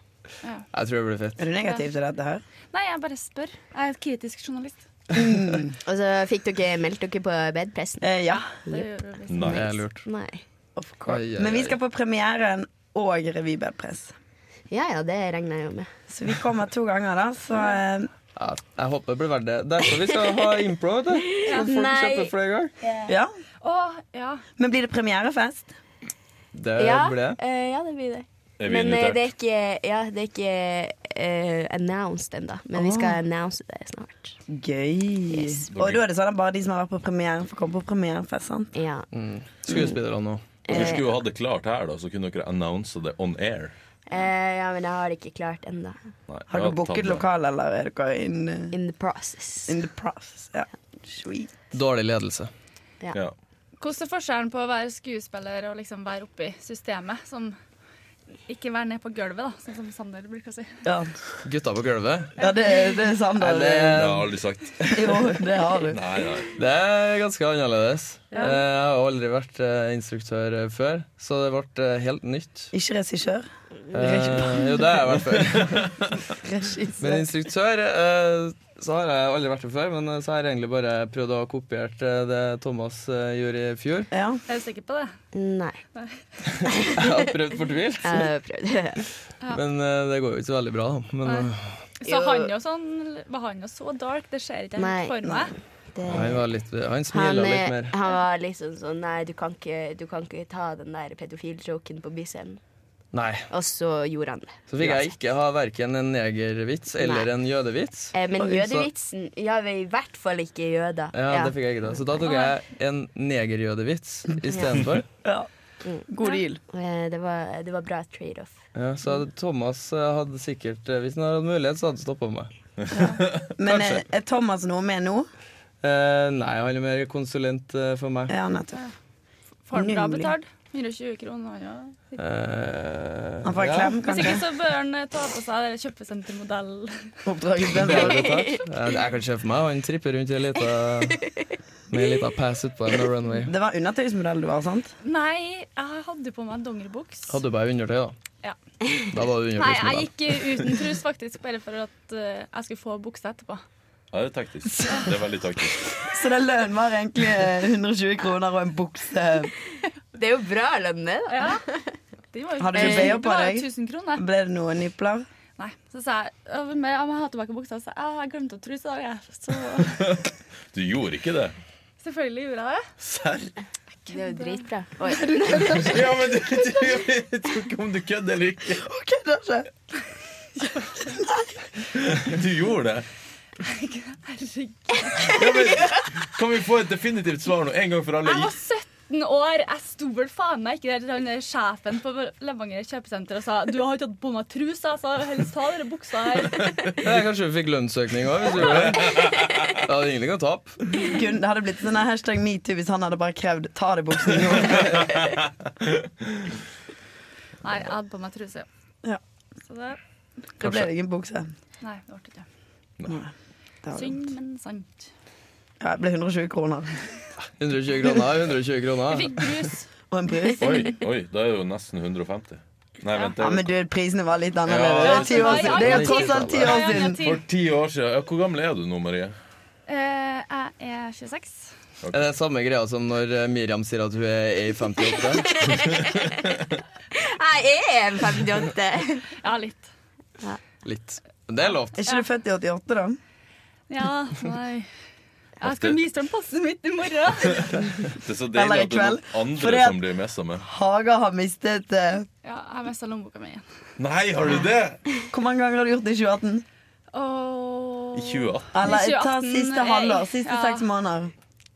Speaker 4: Jeg tror det blir fett.
Speaker 2: Er du negativ til dette her?
Speaker 1: Nei, jeg bare spør. Jeg er et kritisk journalist.
Speaker 6: Og så fikk dere meldt dere på bedpressen.
Speaker 2: Eh, ja.
Speaker 1: Det gjør vi visst.
Speaker 3: Nei.
Speaker 4: Det er lurt.
Speaker 6: Nei.
Speaker 2: Of course.
Speaker 4: Oi, oi,
Speaker 2: Men vi
Speaker 4: oi.
Speaker 2: skal på premieren og revybedpress.
Speaker 6: Ja ja, det regner jeg jo med.
Speaker 2: Så vi kommer to ganger, da. Så eh,
Speaker 4: Ja, jeg håper det blir verdt det. Derfor vi skal ha impro. vet du. Så folk
Speaker 6: Nei.
Speaker 4: kjøper flere ganger.
Speaker 2: ja.
Speaker 1: Å, ja.
Speaker 2: Men blir det premierefest?
Speaker 4: Det
Speaker 6: Ja,
Speaker 4: blir det.
Speaker 6: eh, ja, det blir det.
Speaker 3: Er vi
Speaker 6: Men eh, det er
Speaker 3: invitert?
Speaker 6: ikke, ja, det er ikke eh, announced ennå. Men vi skal announce det snart.
Speaker 2: Gøy.
Speaker 6: Yes.
Speaker 2: Og da er det sånn at bare de som har vært på premieren, får komme på premierefest. sant?
Speaker 6: Ja.
Speaker 4: Mm. Skuespillerne òg.
Speaker 3: Dere skulle jo ha det klart her, da, så kunne dere annonse det on air.
Speaker 6: Eh, ja, men jeg har det ikke klart ennå.
Speaker 3: Nei, jeg
Speaker 2: Har du
Speaker 3: tatt
Speaker 2: booket
Speaker 3: det.
Speaker 2: lokal, eller er dere in, eh,
Speaker 6: In the process.
Speaker 2: in the process? Ja. Sweet.
Speaker 4: Dårlig ledelse.
Speaker 3: Ja.
Speaker 1: Hvordan er forskjellen på å være skuespiller og liksom være oppi systemet? Sånn, ikke være ned på gulvet, da, sånn som Sander bruker å si.
Speaker 2: Ja,
Speaker 4: Gutta på gulvet.
Speaker 2: ja det, det er sant.
Speaker 4: Nei, det,
Speaker 2: Det,
Speaker 3: Det har jeg aldri sagt.
Speaker 2: jo, det har du.
Speaker 3: Nei, nei.
Speaker 4: det er ganske annerledes. Eh, Jeg har aldri vært eh, instruktør eh, før, så det ble eh, helt nytt.
Speaker 2: Ikke regissør.
Speaker 4: Eh, jo, det har jeg vært før. Men
Speaker 2: Regissør.
Speaker 4: instruktør eh, så har jeg aldri vært det før, men eh, så har jeg egentlig bare prøvd å ha kopiert eh, det Thomas eh, gjorde i fjor.
Speaker 2: Ja.
Speaker 1: Er du sikker på det?
Speaker 6: Nei.
Speaker 4: Jeg har prøvd fortvilt,
Speaker 6: Jeg har prøvd.
Speaker 4: men eh, det går jo ikke så veldig bra, da. Men eh,
Speaker 1: Så
Speaker 6: Jo.
Speaker 1: han jo sånn Var han jo så dark? Det ser ikke
Speaker 6: Nei.
Speaker 1: helt for meg.
Speaker 6: Det,
Speaker 4: eh, han, var litt, han
Speaker 6: han,
Speaker 4: smiler litt
Speaker 6: eh,
Speaker 4: mer.
Speaker 6: han var liksom sånn Nei, du kan ikke, du kan ikke ta den der pedofiljoken på byscenen.
Speaker 4: Nei.
Speaker 6: Og så gjorde han det.
Speaker 4: Så fikk jeg ikke ha verken en negervits eller
Speaker 6: Nei.
Speaker 4: en jødevits.
Speaker 6: Eh, men
Speaker 4: Så-
Speaker 6: jødevitsen Ja, vi er i hvert fall ikke jøder.
Speaker 4: Ja, det fikk jeg ikke da. Så da tok jeg en negerjødevits istedenfor.
Speaker 2: ja. God deal.
Speaker 6: Eh, det, var, det var bra trade-off.
Speaker 4: Ja, så hadde Thomas eh, hadde sikkert eh, Hvis han hadde hatt mulighet, så hadde han stoppa meg.
Speaker 2: Men eh, er Thomas noe med nå?
Speaker 4: Eh, nei, han er mer konsulent eh, for meg.
Speaker 2: Ja, nettopp.
Speaker 1: Får han bra
Speaker 2: Nemlig.
Speaker 1: betalt? 120 kroner, han jo.
Speaker 4: Eh,
Speaker 2: Han får en
Speaker 4: ja.
Speaker 2: klem,
Speaker 1: Hvis
Speaker 2: kanskje?
Speaker 1: ikke så bør han eh, ta på seg den kjøpesentermodellen.
Speaker 2: Oppdraget
Speaker 4: Bra
Speaker 2: bedre.
Speaker 4: betalt. Eh, jeg kan se for meg han tripper rundt i en lita med en lita pass utpå en runway.
Speaker 2: Det var undertøysmodell du var, sant?
Speaker 1: Nei, jeg hadde på meg dongeribuks.
Speaker 4: Hadde du bare undertøy, da?
Speaker 1: Ja.
Speaker 4: Da var du
Speaker 1: Nei, jeg
Speaker 4: undertøysmodell.
Speaker 1: gikk eh, uten trus faktisk, bare for at eh, jeg skulle få bukse etterpå.
Speaker 3: Ja, det er taktisk. Det er veldig taktisk.
Speaker 2: Så den lønnen var egentlig eh, 120 kroner og en bukse.
Speaker 6: Det er jo bra lønn, det. da.
Speaker 1: Ja. Det var jo-
Speaker 2: Hadde du BH på
Speaker 1: Det var jo
Speaker 2: deg?
Speaker 1: 1000 kroner.
Speaker 2: Ble det noen nipler?
Speaker 1: Nei. Så sa jeg «Ja, men jeg må ha tilbake buksa. Så jeg, «Ja, jeg glemte å trus i dag, jeg. Så
Speaker 3: Du gjorde ikke det.
Speaker 1: selvfølgelig gjorde jeg det.
Speaker 3: Serr?
Speaker 6: Det er jo dritbra. Oi.
Speaker 3: Ja, men du vet jo ikke om du kødder eller ikke.
Speaker 2: Ok, det har skjedd.
Speaker 3: Du gjorde det.
Speaker 1: Herregud.
Speaker 3: Ja, men, kan vi få et definitivt svar nå, en gang for alle?
Speaker 1: Jeg var 17 år. Jeg sto vel faen meg ikke der til han der sjefen på Levanger kjøpesenter og sa du har ikke hatt på meg truse, altså. Helst ta dere buksa her.
Speaker 4: Ja, kanskje vi fikk lønnsøkning òg, hvis du gjorde det. Jeg hadde egentlig ikke å tape.
Speaker 2: Kun, det hadde blitt sånn her hashtag metoo hvis han hadde bare krevd 'ta av deg buksene nå'.
Speaker 1: Nei, jeg hadde på meg truse.
Speaker 2: Ja.
Speaker 1: Så det
Speaker 2: Da ble det ingen bukse.
Speaker 1: Nei, det ble det ikke.
Speaker 2: Det var-
Speaker 1: Synd, men sant.
Speaker 2: Ja, det ble 120 kroner.
Speaker 4: 120 kroner, 120
Speaker 1: Vi
Speaker 4: kroner.
Speaker 1: fikk brus.
Speaker 2: Og en brus.
Speaker 3: Oi, oi, da er det jo nesten 150. Nei, vent.
Speaker 2: Ja,
Speaker 3: det
Speaker 2: men
Speaker 3: er-
Speaker 2: du, prisene var litt annerledes. det,
Speaker 3: Ja,
Speaker 2: er ti år siden. det er jo tross alt ti år
Speaker 1: Ja, ja,
Speaker 2: siden.
Speaker 1: ti.
Speaker 3: For ti år siden. Ja, hvor gammel er du nå, Marie?
Speaker 1: Eh, Jeg er 26.
Speaker 4: Er det samme greia som når eh, Miriam sier at hun er ei 58?
Speaker 6: Jeg er en 58.
Speaker 1: Ja, litt.
Speaker 4: Litt. Men Det er lov.
Speaker 2: Er ikke du født i 88, da?
Speaker 1: Ja, nei. Jeg skal vise dem passet mitt i morgen.
Speaker 3: Det er
Speaker 2: Eller
Speaker 3: så
Speaker 2: i
Speaker 3: deilig at det er
Speaker 2: kveld.
Speaker 3: noen andre
Speaker 2: Fordi at-
Speaker 3: som blir messa med.
Speaker 2: Haga har mistet eh,
Speaker 1: Ja, jeg mista lommeboka mi igjen.
Speaker 3: Nei, har du det?
Speaker 2: Hvor mange ganger har du gjort det i 2018?
Speaker 1: Og
Speaker 3: I 2018.
Speaker 2: Eller
Speaker 1: I 2018
Speaker 2: ta siste
Speaker 1: er-
Speaker 2: halvår. Siste
Speaker 1: ja.
Speaker 2: seks måneder.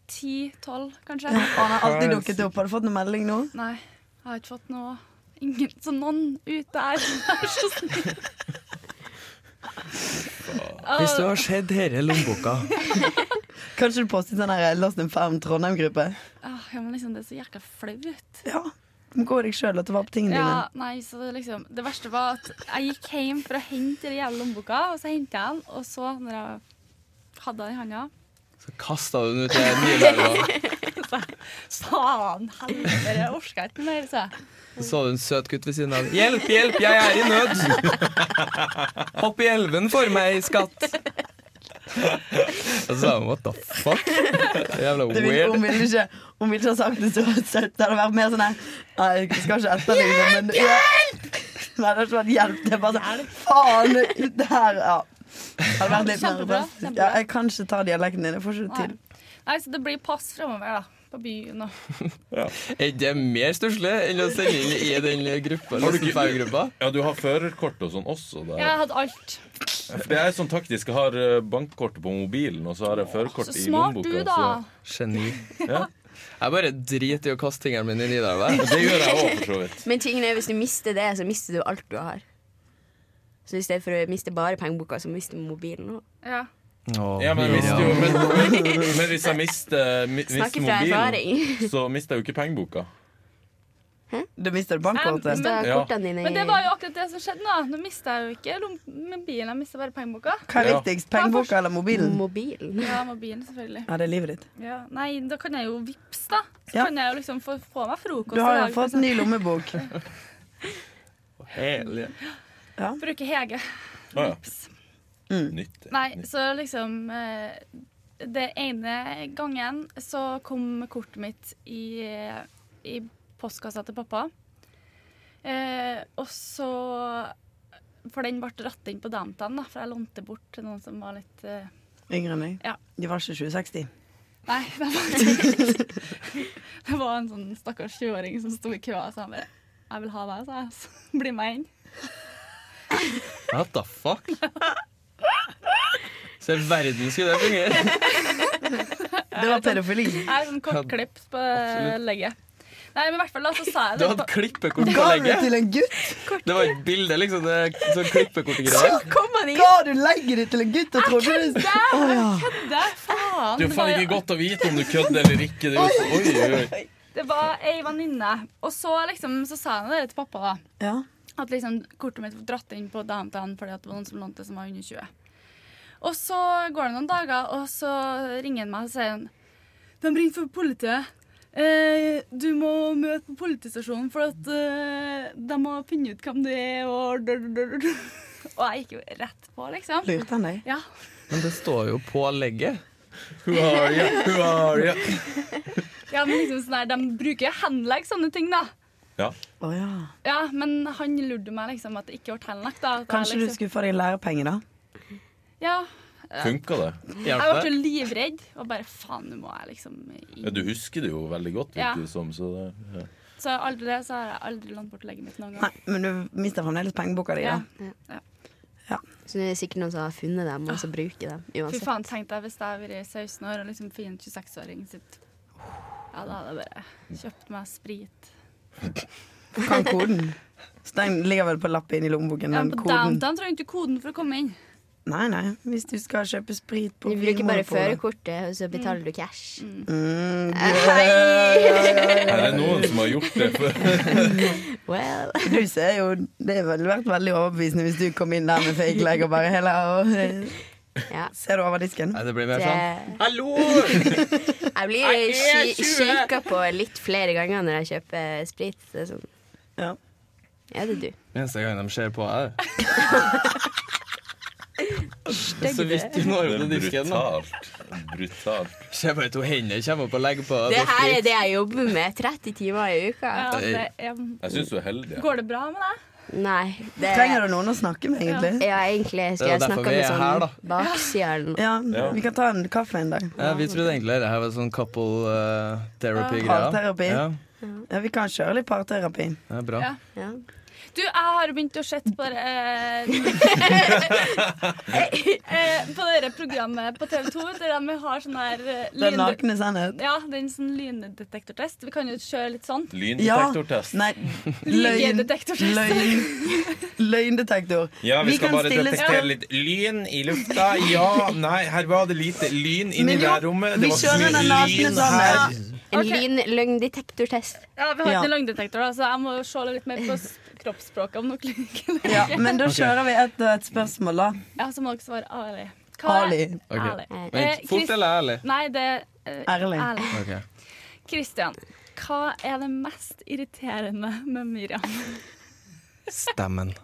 Speaker 1: 10-12, kanskje.
Speaker 2: Og han har alltid dukket opp. Har du fått noen melding nå?
Speaker 1: Nei, jeg har ikke fått noe Ingen, så noen ute er Vær så snill.
Speaker 4: Hvis du har sett denne lommeboka
Speaker 2: Kanskje du postet sånn her Lost in Found Trondheim-gruppe?
Speaker 1: Ah, ja, men liksom, det er så jækla flaut.
Speaker 2: Ja. Du må gå deg sjøl og ta vare på tingene dine.
Speaker 1: Ja, nei, så det liksom, det verste var at jeg gikk hjem for å hente den jævla lommeboka, og så hentet jeg den, og så, når jeg hadde den i handa
Speaker 4: Så kasta du den ut til Nidelva.
Speaker 1: Faen helvete, jeg orka ikke mer, sa jeg.
Speaker 4: Så så du en søt gutt ved siden av. Hjelp, hjelp, jeg er i nød! Hopp i elven for meg, skatt! Og så sa hun what the fuck? Det er Jævla
Speaker 2: Det vil,
Speaker 4: weird.
Speaker 2: hun, ville ikke, hun ville ikke ha sagt det så søtt. Det hadde vært mer sånn her Nei, jeg skal ikke etterligne men Hjelp! Nei, det hadde ikke vært hjelp. Det er bare sånn Faen! Det her Ja. Det hadde vært litt mer
Speaker 1: Kjempebra,
Speaker 2: drastisk.
Speaker 1: kjempebra.
Speaker 2: Ja, jeg kan ikke ta dialekten din. Jeg får ikke det til.
Speaker 1: Nei. nei, så det blir pass fremover, da. På byen og
Speaker 4: Er ikke det mer stusslig enn å sende inn i den gruppa?
Speaker 3: Har du
Speaker 4: Liksom, gruppa?
Speaker 3: Ja, du har førerkort og sånn også. Der.
Speaker 1: Jeg hadde alt.
Speaker 3: For jeg er sånn taktisk. Jeg har eh, bankkortet på mobilen, og så har jeg
Speaker 1: Så
Speaker 3: førerkort i
Speaker 1: smart du,
Speaker 3: lommeboka.
Speaker 1: da.
Speaker 3: så-
Speaker 4: Geni.
Speaker 3: Ja.
Speaker 4: Jeg bare driter i å kaste tingene mine i Nidelva.
Speaker 3: Det gjør jeg òg, for så vidt.
Speaker 6: Men tingen er, hvis du mister det, så mister du alt du har. Så i stedet for å miste bare pengeboka, så mister du mobilen òg.
Speaker 1: Ja.
Speaker 4: Åh,
Speaker 3: Ja, men, jeg mister jo,
Speaker 4: Miriam.
Speaker 3: men, men hvis jeg mister, mi- mister
Speaker 6: Snakker fra
Speaker 3: mobilen,
Speaker 6: erfaring.
Speaker 3: så mister jeg jo ikke pengeboka.
Speaker 2: Du mister altså.
Speaker 1: Men-
Speaker 2: bankkortet.
Speaker 6: Da Altså, er
Speaker 3: Ja.
Speaker 6: kortene dine
Speaker 1: Men det var jo akkurat det som skjedde. da Nå mista jeg jo ikke lom- mobilen, jeg mista bare pengeboka.
Speaker 2: Hva er
Speaker 3: Ja.
Speaker 2: viktigst, pengeboka eller mobilen?
Speaker 6: mobilen.
Speaker 1: Ja, mobilen selvfølgelig.
Speaker 2: Ja, det er livet ditt.
Speaker 1: Ja. Nei, da kan jeg jo vips da. Så
Speaker 2: Ja.
Speaker 1: kan jeg jo liksom få, få meg frokost.
Speaker 2: Du
Speaker 1: i
Speaker 2: har
Speaker 1: dag,
Speaker 2: jo
Speaker 1: for
Speaker 2: fått
Speaker 1: eksempel.
Speaker 2: ny lommebok.
Speaker 4: Herlig.
Speaker 1: Bruke Hege.
Speaker 3: Å ja. Mm.
Speaker 1: Vips.
Speaker 3: Nytt.
Speaker 1: Nei, så liksom eh, Det ene gangen så kom kortet mitt i, i postkassa til pappa. Eh, og så For den ble dratt inn på downtown, da, for jeg lånte bort til noen som var litt eh,
Speaker 2: Yngre enn deg.
Speaker 1: Ja.
Speaker 2: De var ikke 2060.
Speaker 1: Nei, det var, det var en sånn stakkars 20-åring som sto i køa og sa han bare Jeg vil ha deg, sa jeg. Så bli med inn.
Speaker 4: What the fuck? Se, verden skulle det fungere.
Speaker 2: Det var pedofili.
Speaker 1: Jeg har sånn kortklipp på legget. Nei, men i hvert fall da så sa jeg
Speaker 4: Du
Speaker 1: det.
Speaker 4: hadde
Speaker 1: på-
Speaker 4: klippekort på
Speaker 2: Ga du
Speaker 4: legget.
Speaker 2: til en gutt?
Speaker 4: Det var et bilde, liksom. Det er sånn klippekortgreier.
Speaker 6: Kom han inn!
Speaker 2: Ga du legget ditt til en gutt og trodde du Å ja.
Speaker 1: Det er faen!
Speaker 3: Det er
Speaker 1: det
Speaker 3: jo faen
Speaker 1: var-
Speaker 3: ikke godt å vite om du kødder eller ikke. Det er jo så, oi, oi, oi.
Speaker 1: Det var ei venninne. Og så liksom, så sa han det til pappa, da.
Speaker 2: ja.
Speaker 1: At liksom kortet mitt var dratt inn på downtown fordi at det var noen som lånte det som var under 20. Og så går det noen dager, og så ringer han meg og sier han, De ringer for politiet. Eh, du må møte på politistasjonen, for at eh, de har funnet ut hvem du er, og dr- dr- dr- dr. Og jeg gikk jo rett på, liksom.
Speaker 2: Lurte han deg?
Speaker 1: Ja.
Speaker 4: Men det står jo på legget.
Speaker 3: Who are you? Who are you?
Speaker 1: ja, men liksom sånn der, De bruker jo henlegg sånne ting, da.
Speaker 3: Ja.
Speaker 2: Å ja.
Speaker 1: Ja, Men han lurte meg liksom at det ikke ble henlagt. da. At jeg
Speaker 2: Kanskje du
Speaker 1: liksom,
Speaker 2: skulle få deg lærepenger, da?
Speaker 1: Ja,
Speaker 3: Funka det?
Speaker 1: Jeg
Speaker 4: Hjelper
Speaker 1: ble
Speaker 4: det?
Speaker 1: jo livredd. Og bare faen, nå må jeg liksom inn.
Speaker 3: Ja, du husker det jo veldig godt.
Speaker 1: Ja.
Speaker 3: Vet du, som, så det, ja.
Speaker 1: Så aldri det, så har jeg aldri lånt bort legget mitt noen
Speaker 2: Nei,
Speaker 1: gang.
Speaker 2: men du mister fremdeles pengeboka di,
Speaker 1: Ja.
Speaker 2: da.
Speaker 1: Ja.
Speaker 6: Så det er sikkert noen som har funnet dem, og så bruker dem
Speaker 1: Fy
Speaker 6: uansett.
Speaker 1: faen, tenkte jeg hvis jeg hadde vært 16 år og liksom funnet 26-åring sitt Ja, da hadde jeg bare kjøpt meg sprit.
Speaker 2: Kan koden. Så den ligger vel på lappet inni lommeboken,
Speaker 1: Ja,
Speaker 2: den
Speaker 1: men på
Speaker 2: koden.
Speaker 1: downtown trenger du ikke koden for å komme inn.
Speaker 2: Nei, nei. Hvis du skal kjøpe sprit på
Speaker 6: Du bruker bare
Speaker 2: Vinmonopolet.
Speaker 6: førerkortet, og så betaler du cash.
Speaker 2: Mm,
Speaker 3: Er det noen som har gjort det før?
Speaker 6: Well.
Speaker 2: Du ser jo Det har vel vært veldig overbevisende hvis du kom inn der med fake leg og bare hele og, eh,
Speaker 6: Ja.
Speaker 2: Ser du over disken?
Speaker 4: Nei, det blir mer
Speaker 6: Det,
Speaker 4: sånn. Hallo!
Speaker 6: jeg blir
Speaker 4: Jeg er
Speaker 6: ki-
Speaker 4: 20.
Speaker 6: kika på litt flere ganger når jeg kjøper sprit. Det er sånn
Speaker 2: Ja.
Speaker 6: Er det du?
Speaker 4: Eneste gang de ser på meg. Det er så vidt du når opp til
Speaker 3: Det er
Speaker 4: disken. da.
Speaker 3: brutalt. Brutalt.
Speaker 4: Se bare to hender kommer opp og legger på.
Speaker 6: Det her er det jeg jobber med 30 timer i uka.
Speaker 1: Ja, det er,
Speaker 3: Jeg syns du er heldig.
Speaker 1: går det bra med deg?
Speaker 6: Nei. Det,
Speaker 2: Trenger du noen å snakke med, egentlig?
Speaker 6: ja, egentlig
Speaker 4: Det er
Speaker 6: skulle jeg
Speaker 4: derfor
Speaker 6: snakka
Speaker 4: vi
Speaker 6: med
Speaker 4: er
Speaker 6: sånn
Speaker 4: her, da.
Speaker 6: baksida eller noe.
Speaker 2: Ja, vi kan ta en kaffe en dag.
Speaker 4: Ja, vi trodde egentlig det her var sånn couple eh, therapy-greia.
Speaker 2: Parterapi.
Speaker 4: Ja,
Speaker 2: Ja, vi kan kjøre litt parterapi.
Speaker 4: det er bra.
Speaker 1: Ja.
Speaker 6: Ja.
Speaker 1: Du, jeg har begynt å se på eh, eh, På det der programmet på TV 2 der de har sånn her eh,
Speaker 2: Den
Speaker 1: lynde-
Speaker 2: nakne sannhet.
Speaker 1: Ja, det er en sånn lyndetektortest. Vi kan jo kjøre litt sånn.
Speaker 3: Lyndetektortest.
Speaker 2: Nei, løgn.
Speaker 1: Lygedetektortest.
Speaker 2: Løgn. Løgndetektor.
Speaker 9: Ja, vi, skal
Speaker 2: kan
Speaker 9: bare
Speaker 2: stille-
Speaker 9: detektere litt lyn i lufta. Ja, nei, her var det lite lyn inni
Speaker 2: Men jo,
Speaker 9: det rommet.
Speaker 2: vi
Speaker 9: Det var så
Speaker 2: kjører den
Speaker 9: mye
Speaker 2: nakne
Speaker 9: lyn her.
Speaker 2: sannhet.
Speaker 6: En
Speaker 1: Ok.
Speaker 6: lyn løgndetektortest.
Speaker 1: Ja, Vi har ikke
Speaker 2: Ja.
Speaker 1: noen løgndetektor, da, så jeg må se litt mer på s- kroppsspråket. om dere liker det.
Speaker 2: Ja, men da kjører vi et og et spørsmål, da.
Speaker 1: Ja, Så må dere svare ærlig. Hva er-
Speaker 2: Ali.
Speaker 4: Ok.
Speaker 1: Ærlig. Eh,
Speaker 4: Vent,
Speaker 1: Chris-
Speaker 4: fort eller ærlig?
Speaker 1: Nei, det er eh,
Speaker 2: Ærlig.
Speaker 1: ærlig.
Speaker 4: Ok.
Speaker 1: Christian, hva er det mest irriterende med Miriam?
Speaker 4: Stemmen.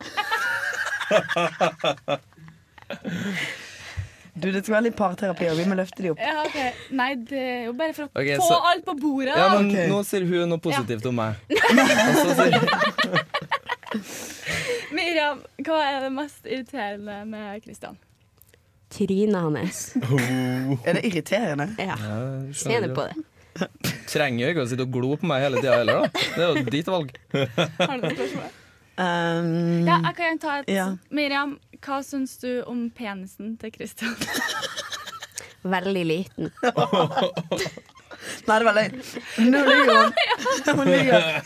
Speaker 2: Du, det skal være litt parterapi, og vi må løfte de opp.
Speaker 1: Ja, ok. Nei, det er jo bare for å
Speaker 4: Ok,
Speaker 1: få
Speaker 4: så-
Speaker 1: alt på bordet.
Speaker 4: Ja,
Speaker 1: da.
Speaker 4: men
Speaker 2: ok.
Speaker 4: nå sier hun noe positivt om meg. Og så sier
Speaker 1: Miriam, hva er det mest irriterende med Christian?
Speaker 6: Trynet hans.
Speaker 9: Oh.
Speaker 2: Er det irriterende?
Speaker 6: Ja. Ser
Speaker 4: ja,
Speaker 6: du på det?
Speaker 4: Trenger jo ikke å sitte og glo på meg hele tida heller, da. Det er jo ditt valg.
Speaker 1: Har du noen spørsmål?
Speaker 2: Um,
Speaker 1: Ja, jeg kan gjerne ta et.
Speaker 2: Ja.
Speaker 1: Miriam, hva syns du om penisen til Christian?
Speaker 6: Veldig liten.
Speaker 2: Nei, det var løgn. Nå lyver hun. Hun lyver.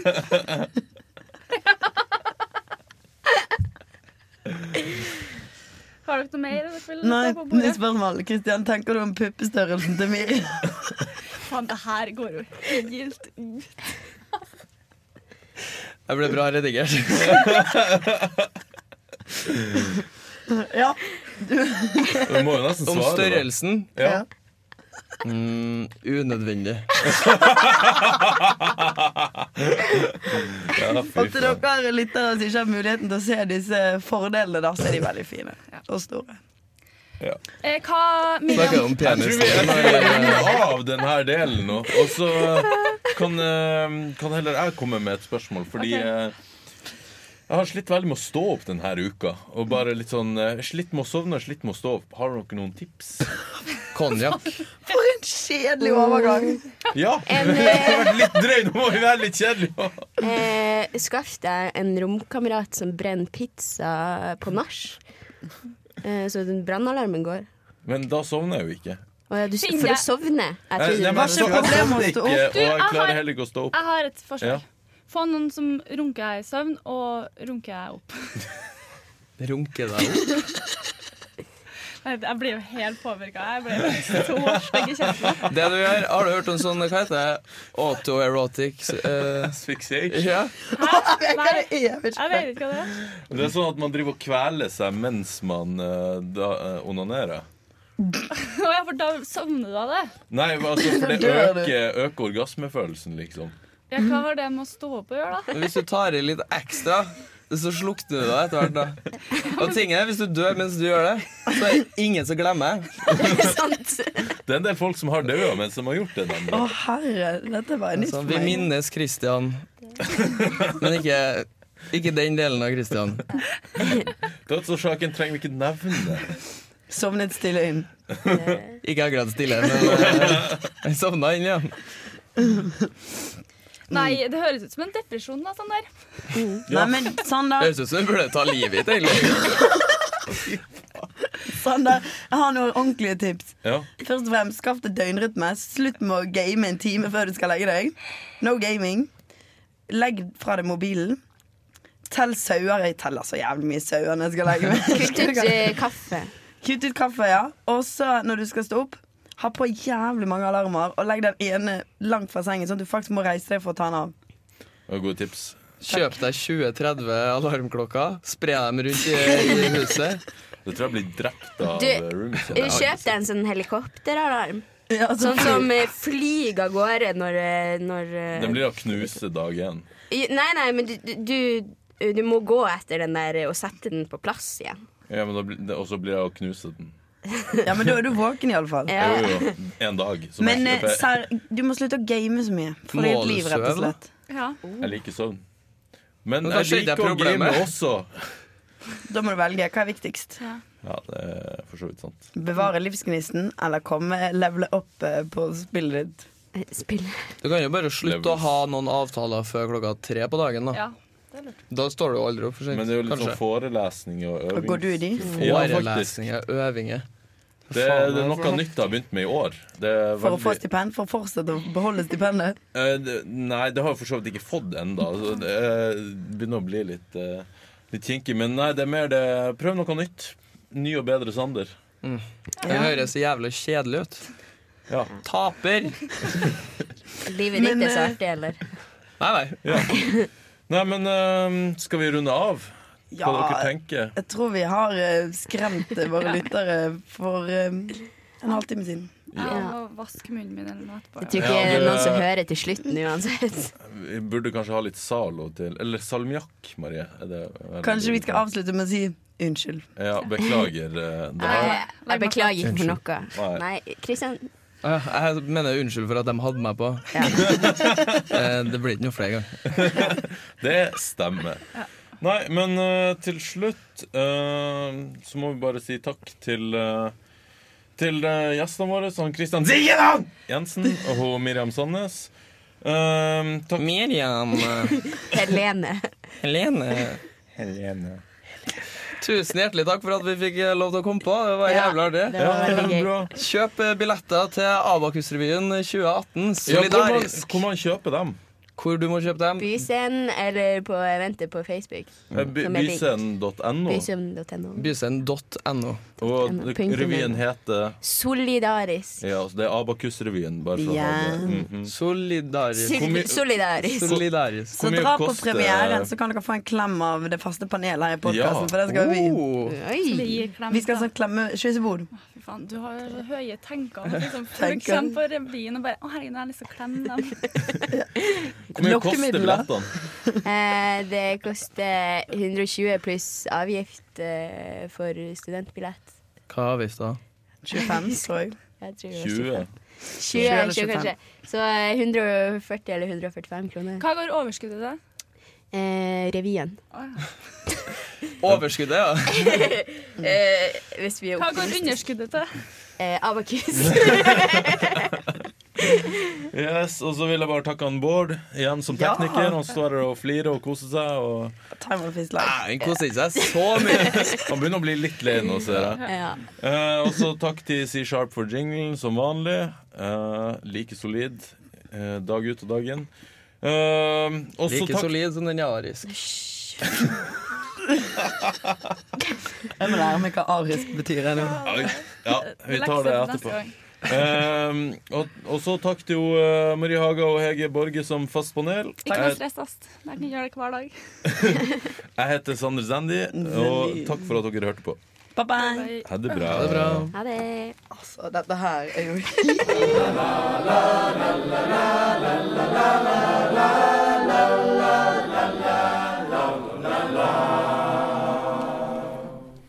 Speaker 1: Har dere noe mer? dere vil ta
Speaker 2: Nei,
Speaker 1: på bordet?
Speaker 2: nytt spørsmål. Kristian, tenker du om puppestørrelsen til Miri?
Speaker 1: Faen, det her går jo helt ut.
Speaker 4: Jeg ble bra redigert.
Speaker 2: Ja.
Speaker 3: Du må jo nesten svare.
Speaker 4: Om
Speaker 3: da.
Speaker 4: størrelsen
Speaker 2: ja.
Speaker 4: mm, unødvendig.
Speaker 3: Ja, fy
Speaker 2: Og til dere lyttere som ikke har muligheten til å se disse fordelene, da, så er de veldig fine og store.
Speaker 1: Eh, hva,
Speaker 4: Snakker
Speaker 1: Miriam,
Speaker 4: om
Speaker 3: Jeg tror vi jeg
Speaker 4: penisen.
Speaker 3: tror vi runder av denne delen nå. Og så kan, eh, kan heller jeg komme med et spørsmål, fordi
Speaker 1: Ok.
Speaker 3: eh, jeg har slitt veldig med å stå opp denne uka. Og bare litt sånn eh, Slitt med å sovne, slitt med å stå opp. Har dere noen tips?
Speaker 4: Konjakk.
Speaker 2: For en kjedelig overgang.
Speaker 3: Ja!
Speaker 1: Eh.
Speaker 6: En,
Speaker 3: Det har vært litt drøy. Nå må vi være litt kjedelige.
Speaker 6: Eh, Skaff deg en romkamerat som brenner pizza på nach, eh, så den brannalarmen går.
Speaker 3: Men da sovner jeg jo ikke. Eh,
Speaker 6: Å ja, du, s-
Speaker 1: Finn
Speaker 6: for å
Speaker 1: deg-
Speaker 6: sovne? Jeg
Speaker 4: Eh,
Speaker 3: Jeg,
Speaker 6: trodde
Speaker 3: jeg,
Speaker 6: det var
Speaker 3: jeg, jeg sovner ikke, og
Speaker 1: Du, jeg
Speaker 3: jeg
Speaker 1: har-
Speaker 3: klarer heller ikke å stå opp.
Speaker 1: jeg har et
Speaker 3: Ja.
Speaker 1: forslag. Få noen som runker jeg i søvn, og runker jeg opp.
Speaker 4: Runke deg opp.
Speaker 1: Nei, Jeg blir jo helt påvirka. Jeg blir så stygg i kjeften.
Speaker 4: Det du gjør, har du hørt om sånn, hva heter det? Autoerotic eh,
Speaker 3: Asphyxiation.
Speaker 4: Ja.
Speaker 1: Hæ?
Speaker 2: Hva
Speaker 1: Nei,
Speaker 2: det er, vet
Speaker 1: jeg vet ikke hva det er.
Speaker 3: Det er sånn at man driver og kveler seg mens man eh, da, eh, onanerer.
Speaker 1: Å ja, for da sovner du av det.
Speaker 3: Nei, altså, for det
Speaker 2: dør du.
Speaker 3: øker, øker orgasmefølelsen, liksom.
Speaker 1: Ja, hva har det med å stå opp å gjøre, da?
Speaker 4: Hvis du tar i litt ekstra, så slukner du deg etter hvert. da Og tinget er, Hvis du dør mens du gjør det, så er det ingen som glemmer.
Speaker 6: ikke sant.
Speaker 3: Det er en del folk som har dødd mens de har gjort det. nemlig.
Speaker 2: Å herre, dette var nytt for
Speaker 4: Så Altså, vi
Speaker 2: meg.
Speaker 4: minnes Christian, men ikke, ikke den delen av Christian.
Speaker 3: Dødsårsaken trenger vi ikke nevne.
Speaker 2: Sovnet stille inn.
Speaker 4: Ikke akkurat stille, men eh, jeg sovna inn, ja.
Speaker 1: Nei, det høres ut som en depresjon. da, sånn der.
Speaker 2: Nei, men sånn da.
Speaker 4: Høres ut som du burde ta livet ditt, egentlig.
Speaker 2: sånn der. Jeg har noen ordentlige tips.
Speaker 3: Ja.
Speaker 2: Først og fremst, skaff deg døgnrytme. Slutt med å game en time før du skal legge deg. No gaming. Legg fra deg mobilen. Tell sauer. Jeg teller så jævlig mye sauer når jeg skal legge
Speaker 6: Kutt ut
Speaker 2: meg.
Speaker 6: eh, kaffe.
Speaker 2: Kutt ut kaffe, ja. Og så, når du skal stå opp, ha på jævlig mange alarmer, og legg den ene langt fra sengen, sånn at du faktisk må reise deg for å ta den av.
Speaker 3: Det var Gode tips.
Speaker 4: Kjøp deg 20-30 alarmklokker, spre dem rundt i, i huset.
Speaker 3: Det tror jeg blir drept av
Speaker 6: Du,
Speaker 3: eh, roomies.
Speaker 6: Eh, Kjøp deg en sånn helikopteralarm.
Speaker 2: Ja, så-
Speaker 6: Sånn som eh, flyr av gårde når, eh, når eh,
Speaker 3: Den blir å knuse dag én.
Speaker 6: i- Nei, nei, men du, du, du må gå etter den der eh, og sette den på plass igjen.
Speaker 3: Ja, men da blir- det- og så blir det å knuse den.
Speaker 2: ja, men da er du våken, iallfall.
Speaker 6: Ja.
Speaker 3: Jo, jo. En dag. Så
Speaker 2: Men
Speaker 3: merker jeg-
Speaker 2: eh, serr, du må slutte å game så mye. For
Speaker 4: Må
Speaker 2: ditt
Speaker 4: du
Speaker 2: liv, rett og
Speaker 4: søve, da?
Speaker 2: slett.
Speaker 1: Ja.
Speaker 3: Jeg liker søvn. Men
Speaker 4: Men
Speaker 3: jeg
Speaker 4: kanskje det er
Speaker 3: liker å game
Speaker 4: problemet.
Speaker 3: også.
Speaker 2: Da må du velge. Hva er viktigst?
Speaker 3: Ja, det er for så vidt sant.
Speaker 2: Bevare livsgnisten eller komme levele opp eh, på spillet ditt?
Speaker 6: Eh, Spill.
Speaker 4: Du kan jo bare slutte å ha noen avtaler før klokka tre på dagen. Da,
Speaker 1: ja. Det er lurt.
Speaker 4: da står du jo aldri opp for sent.
Speaker 3: Men det er jo litt
Speaker 4: kanskje.
Speaker 3: sånn forelesning og øving.
Speaker 2: Går du i de?
Speaker 3: Ja, faktisk.
Speaker 4: Forelesninger, øvinger.
Speaker 3: Det,
Speaker 4: Faen, altså.
Speaker 3: det er
Speaker 4: for
Speaker 3: noe nytt jeg har begynt med i år. Det er
Speaker 2: For å få
Speaker 3: veldig-
Speaker 2: stipend? For å fortsette å beholde stipendet?
Speaker 3: Eh, det- Nei, det har jeg for så vidt ikke fått ennå. Det eh, begynner å bli litt, eh, litt kinkig. Men nei, det er mer det Prøv noe nytt. Ny og bedre Sander.
Speaker 4: Det høres så jævlig kjedelig ut.
Speaker 3: Ja.
Speaker 4: Taper!
Speaker 6: Livet ditt er så artig, eller?
Speaker 4: Nei, nei.
Speaker 3: Nei, men eh, skal vi runde av? Hva dere
Speaker 2: Ja,
Speaker 3: tenker?
Speaker 2: jeg tror vi har eh, skremt eh, våre lyttere for eh, en halvtime siden.
Speaker 1: Jeg må vaske munnen min eller noe etterpå.
Speaker 6: Jeg tror ikke
Speaker 3: Ja,
Speaker 6: det er
Speaker 3: det-
Speaker 6: noen som hører til slutten uansett.
Speaker 3: Vi burde kanskje ha litt Zalo til. Eller salmiakk, Marie. Er det- er det-
Speaker 2: Kanskje vi skal avslutte med å si unnskyld.
Speaker 3: Ja, beklager. eh, Det
Speaker 6: Jeg,
Speaker 3: her.
Speaker 6: jeg beklager for noe.
Speaker 3: Nei.
Speaker 6: Nei, Kristian.
Speaker 4: Ah, Jeg mener unnskyld for at de hadde meg på.
Speaker 6: Ja.
Speaker 4: Eh, Det blir ikke noe flere ganger.
Speaker 3: Det stemmer. Nei, men eh, til slutt eh, så må vi bare si takk til eh, til eh, gjestene våre, som Christian Ziegeland Jensen og hun Miriam Sandnes. Eh, takk
Speaker 4: Miriam, eh,
Speaker 6: Helene.
Speaker 4: Helene
Speaker 9: Helene.
Speaker 4: Tusen hjertelig takk for at vi fikk eh, lov til å komme på. Det var
Speaker 6: Ja,
Speaker 4: jævlig artig.
Speaker 6: Det var veldig gøy.
Speaker 3: Bra.
Speaker 4: Kjøp eh, billetter til Abakus-revyen
Speaker 3: Ja,
Speaker 4: 2018.
Speaker 3: hvor, man,
Speaker 4: Solidarisk.
Speaker 3: hvor man kjøper dem?
Speaker 4: Hvor du må kjøpe dem.
Speaker 6: Byscenen eller på eventet på Facebook.
Speaker 3: Eh, by-
Speaker 6: Som er likt.
Speaker 3: Byscenen.no.
Speaker 6: Byscenen.no.
Speaker 4: Byscenen.no.
Speaker 3: Og det-
Speaker 6: Punktum.
Speaker 3: revyen heter
Speaker 6: Solidarisk.
Speaker 3: Ja, så det er Abakus-revyen. Bare for å ha det. Mhm.
Speaker 4: Solidarisk.
Speaker 3: Hvor mye-
Speaker 6: Sil- Solidarisk.
Speaker 4: Solidarisk.
Speaker 2: Så
Speaker 3: mye
Speaker 2: dra på
Speaker 3: koster-
Speaker 2: premieren, så kan dere få en klem av det faste panelet her i podkasten.
Speaker 3: Ja.
Speaker 2: For det skal vi.
Speaker 4: Oh.
Speaker 6: Oi.
Speaker 1: Blir klemt,
Speaker 2: Vi skal
Speaker 1: da.
Speaker 2: sånn klemme sveisebord.
Speaker 1: Fy faen, du har så høye tenker. om Liksom, folk
Speaker 2: Tenker.
Speaker 1: kommer på revyen og bare 'Å, herregud, jeg har lyst til å klemme dem'.
Speaker 3: Hvor mye koster
Speaker 2: Lokkemidler.
Speaker 3: billettene?
Speaker 6: Eh, det koster 120 pluss avgift eh, for studentbillett.
Speaker 4: Hva har vi da?
Speaker 2: 25, tror jeg.
Speaker 6: Jeg tror det var
Speaker 2: 20
Speaker 3: 20?
Speaker 6: 20,
Speaker 2: eller
Speaker 6: 20 kanskje. Så eh, 140 eller 145 kroner.
Speaker 1: Hva går overskuddet til?
Speaker 6: Eh, revyen.
Speaker 4: Overskuddet, ja.
Speaker 6: Eh, hvis vi er
Speaker 1: Hva går
Speaker 6: optimistiske.
Speaker 1: underskuddet til?
Speaker 6: Eh, Abakus.
Speaker 3: Yes, og så vil jeg bare takke han Bård igjen som
Speaker 2: Ja.
Speaker 3: tekniker. Han står her og flirer og koser seg. Og
Speaker 2: Time of his life.
Speaker 4: Han koser seg så mye.
Speaker 3: han begynner å bli litt lei nå, ser jeg.
Speaker 6: ja.
Speaker 3: Eh, og så takk til C Sharp for jinglen som vanlig. Eh, like solid eh, dag ut og dag inn. Eh, og så
Speaker 4: Like
Speaker 3: takk
Speaker 4: solid som den jarisk.
Speaker 2: Jeg må lære meg hva arisk betyr. Jeg nå.
Speaker 3: Oi. Ja, vi tar
Speaker 1: Lekser
Speaker 3: det
Speaker 1: neste
Speaker 3: etterpå.
Speaker 1: gang.
Speaker 3: Eh, og, og så takk til jo, eh, Marie Haga og Hege Borge som fast panel.
Speaker 1: Ikke noe
Speaker 3: Jeg,
Speaker 1: stress, ass. Jeg kan gjøre det hver dag.
Speaker 3: jeg heter Sander Zandy, og takk for at dere hørte på.
Speaker 2: Bye bye.
Speaker 3: Ha det bra.
Speaker 4: Ha det bra.
Speaker 6: Ha det.
Speaker 2: Altså, dette her er jo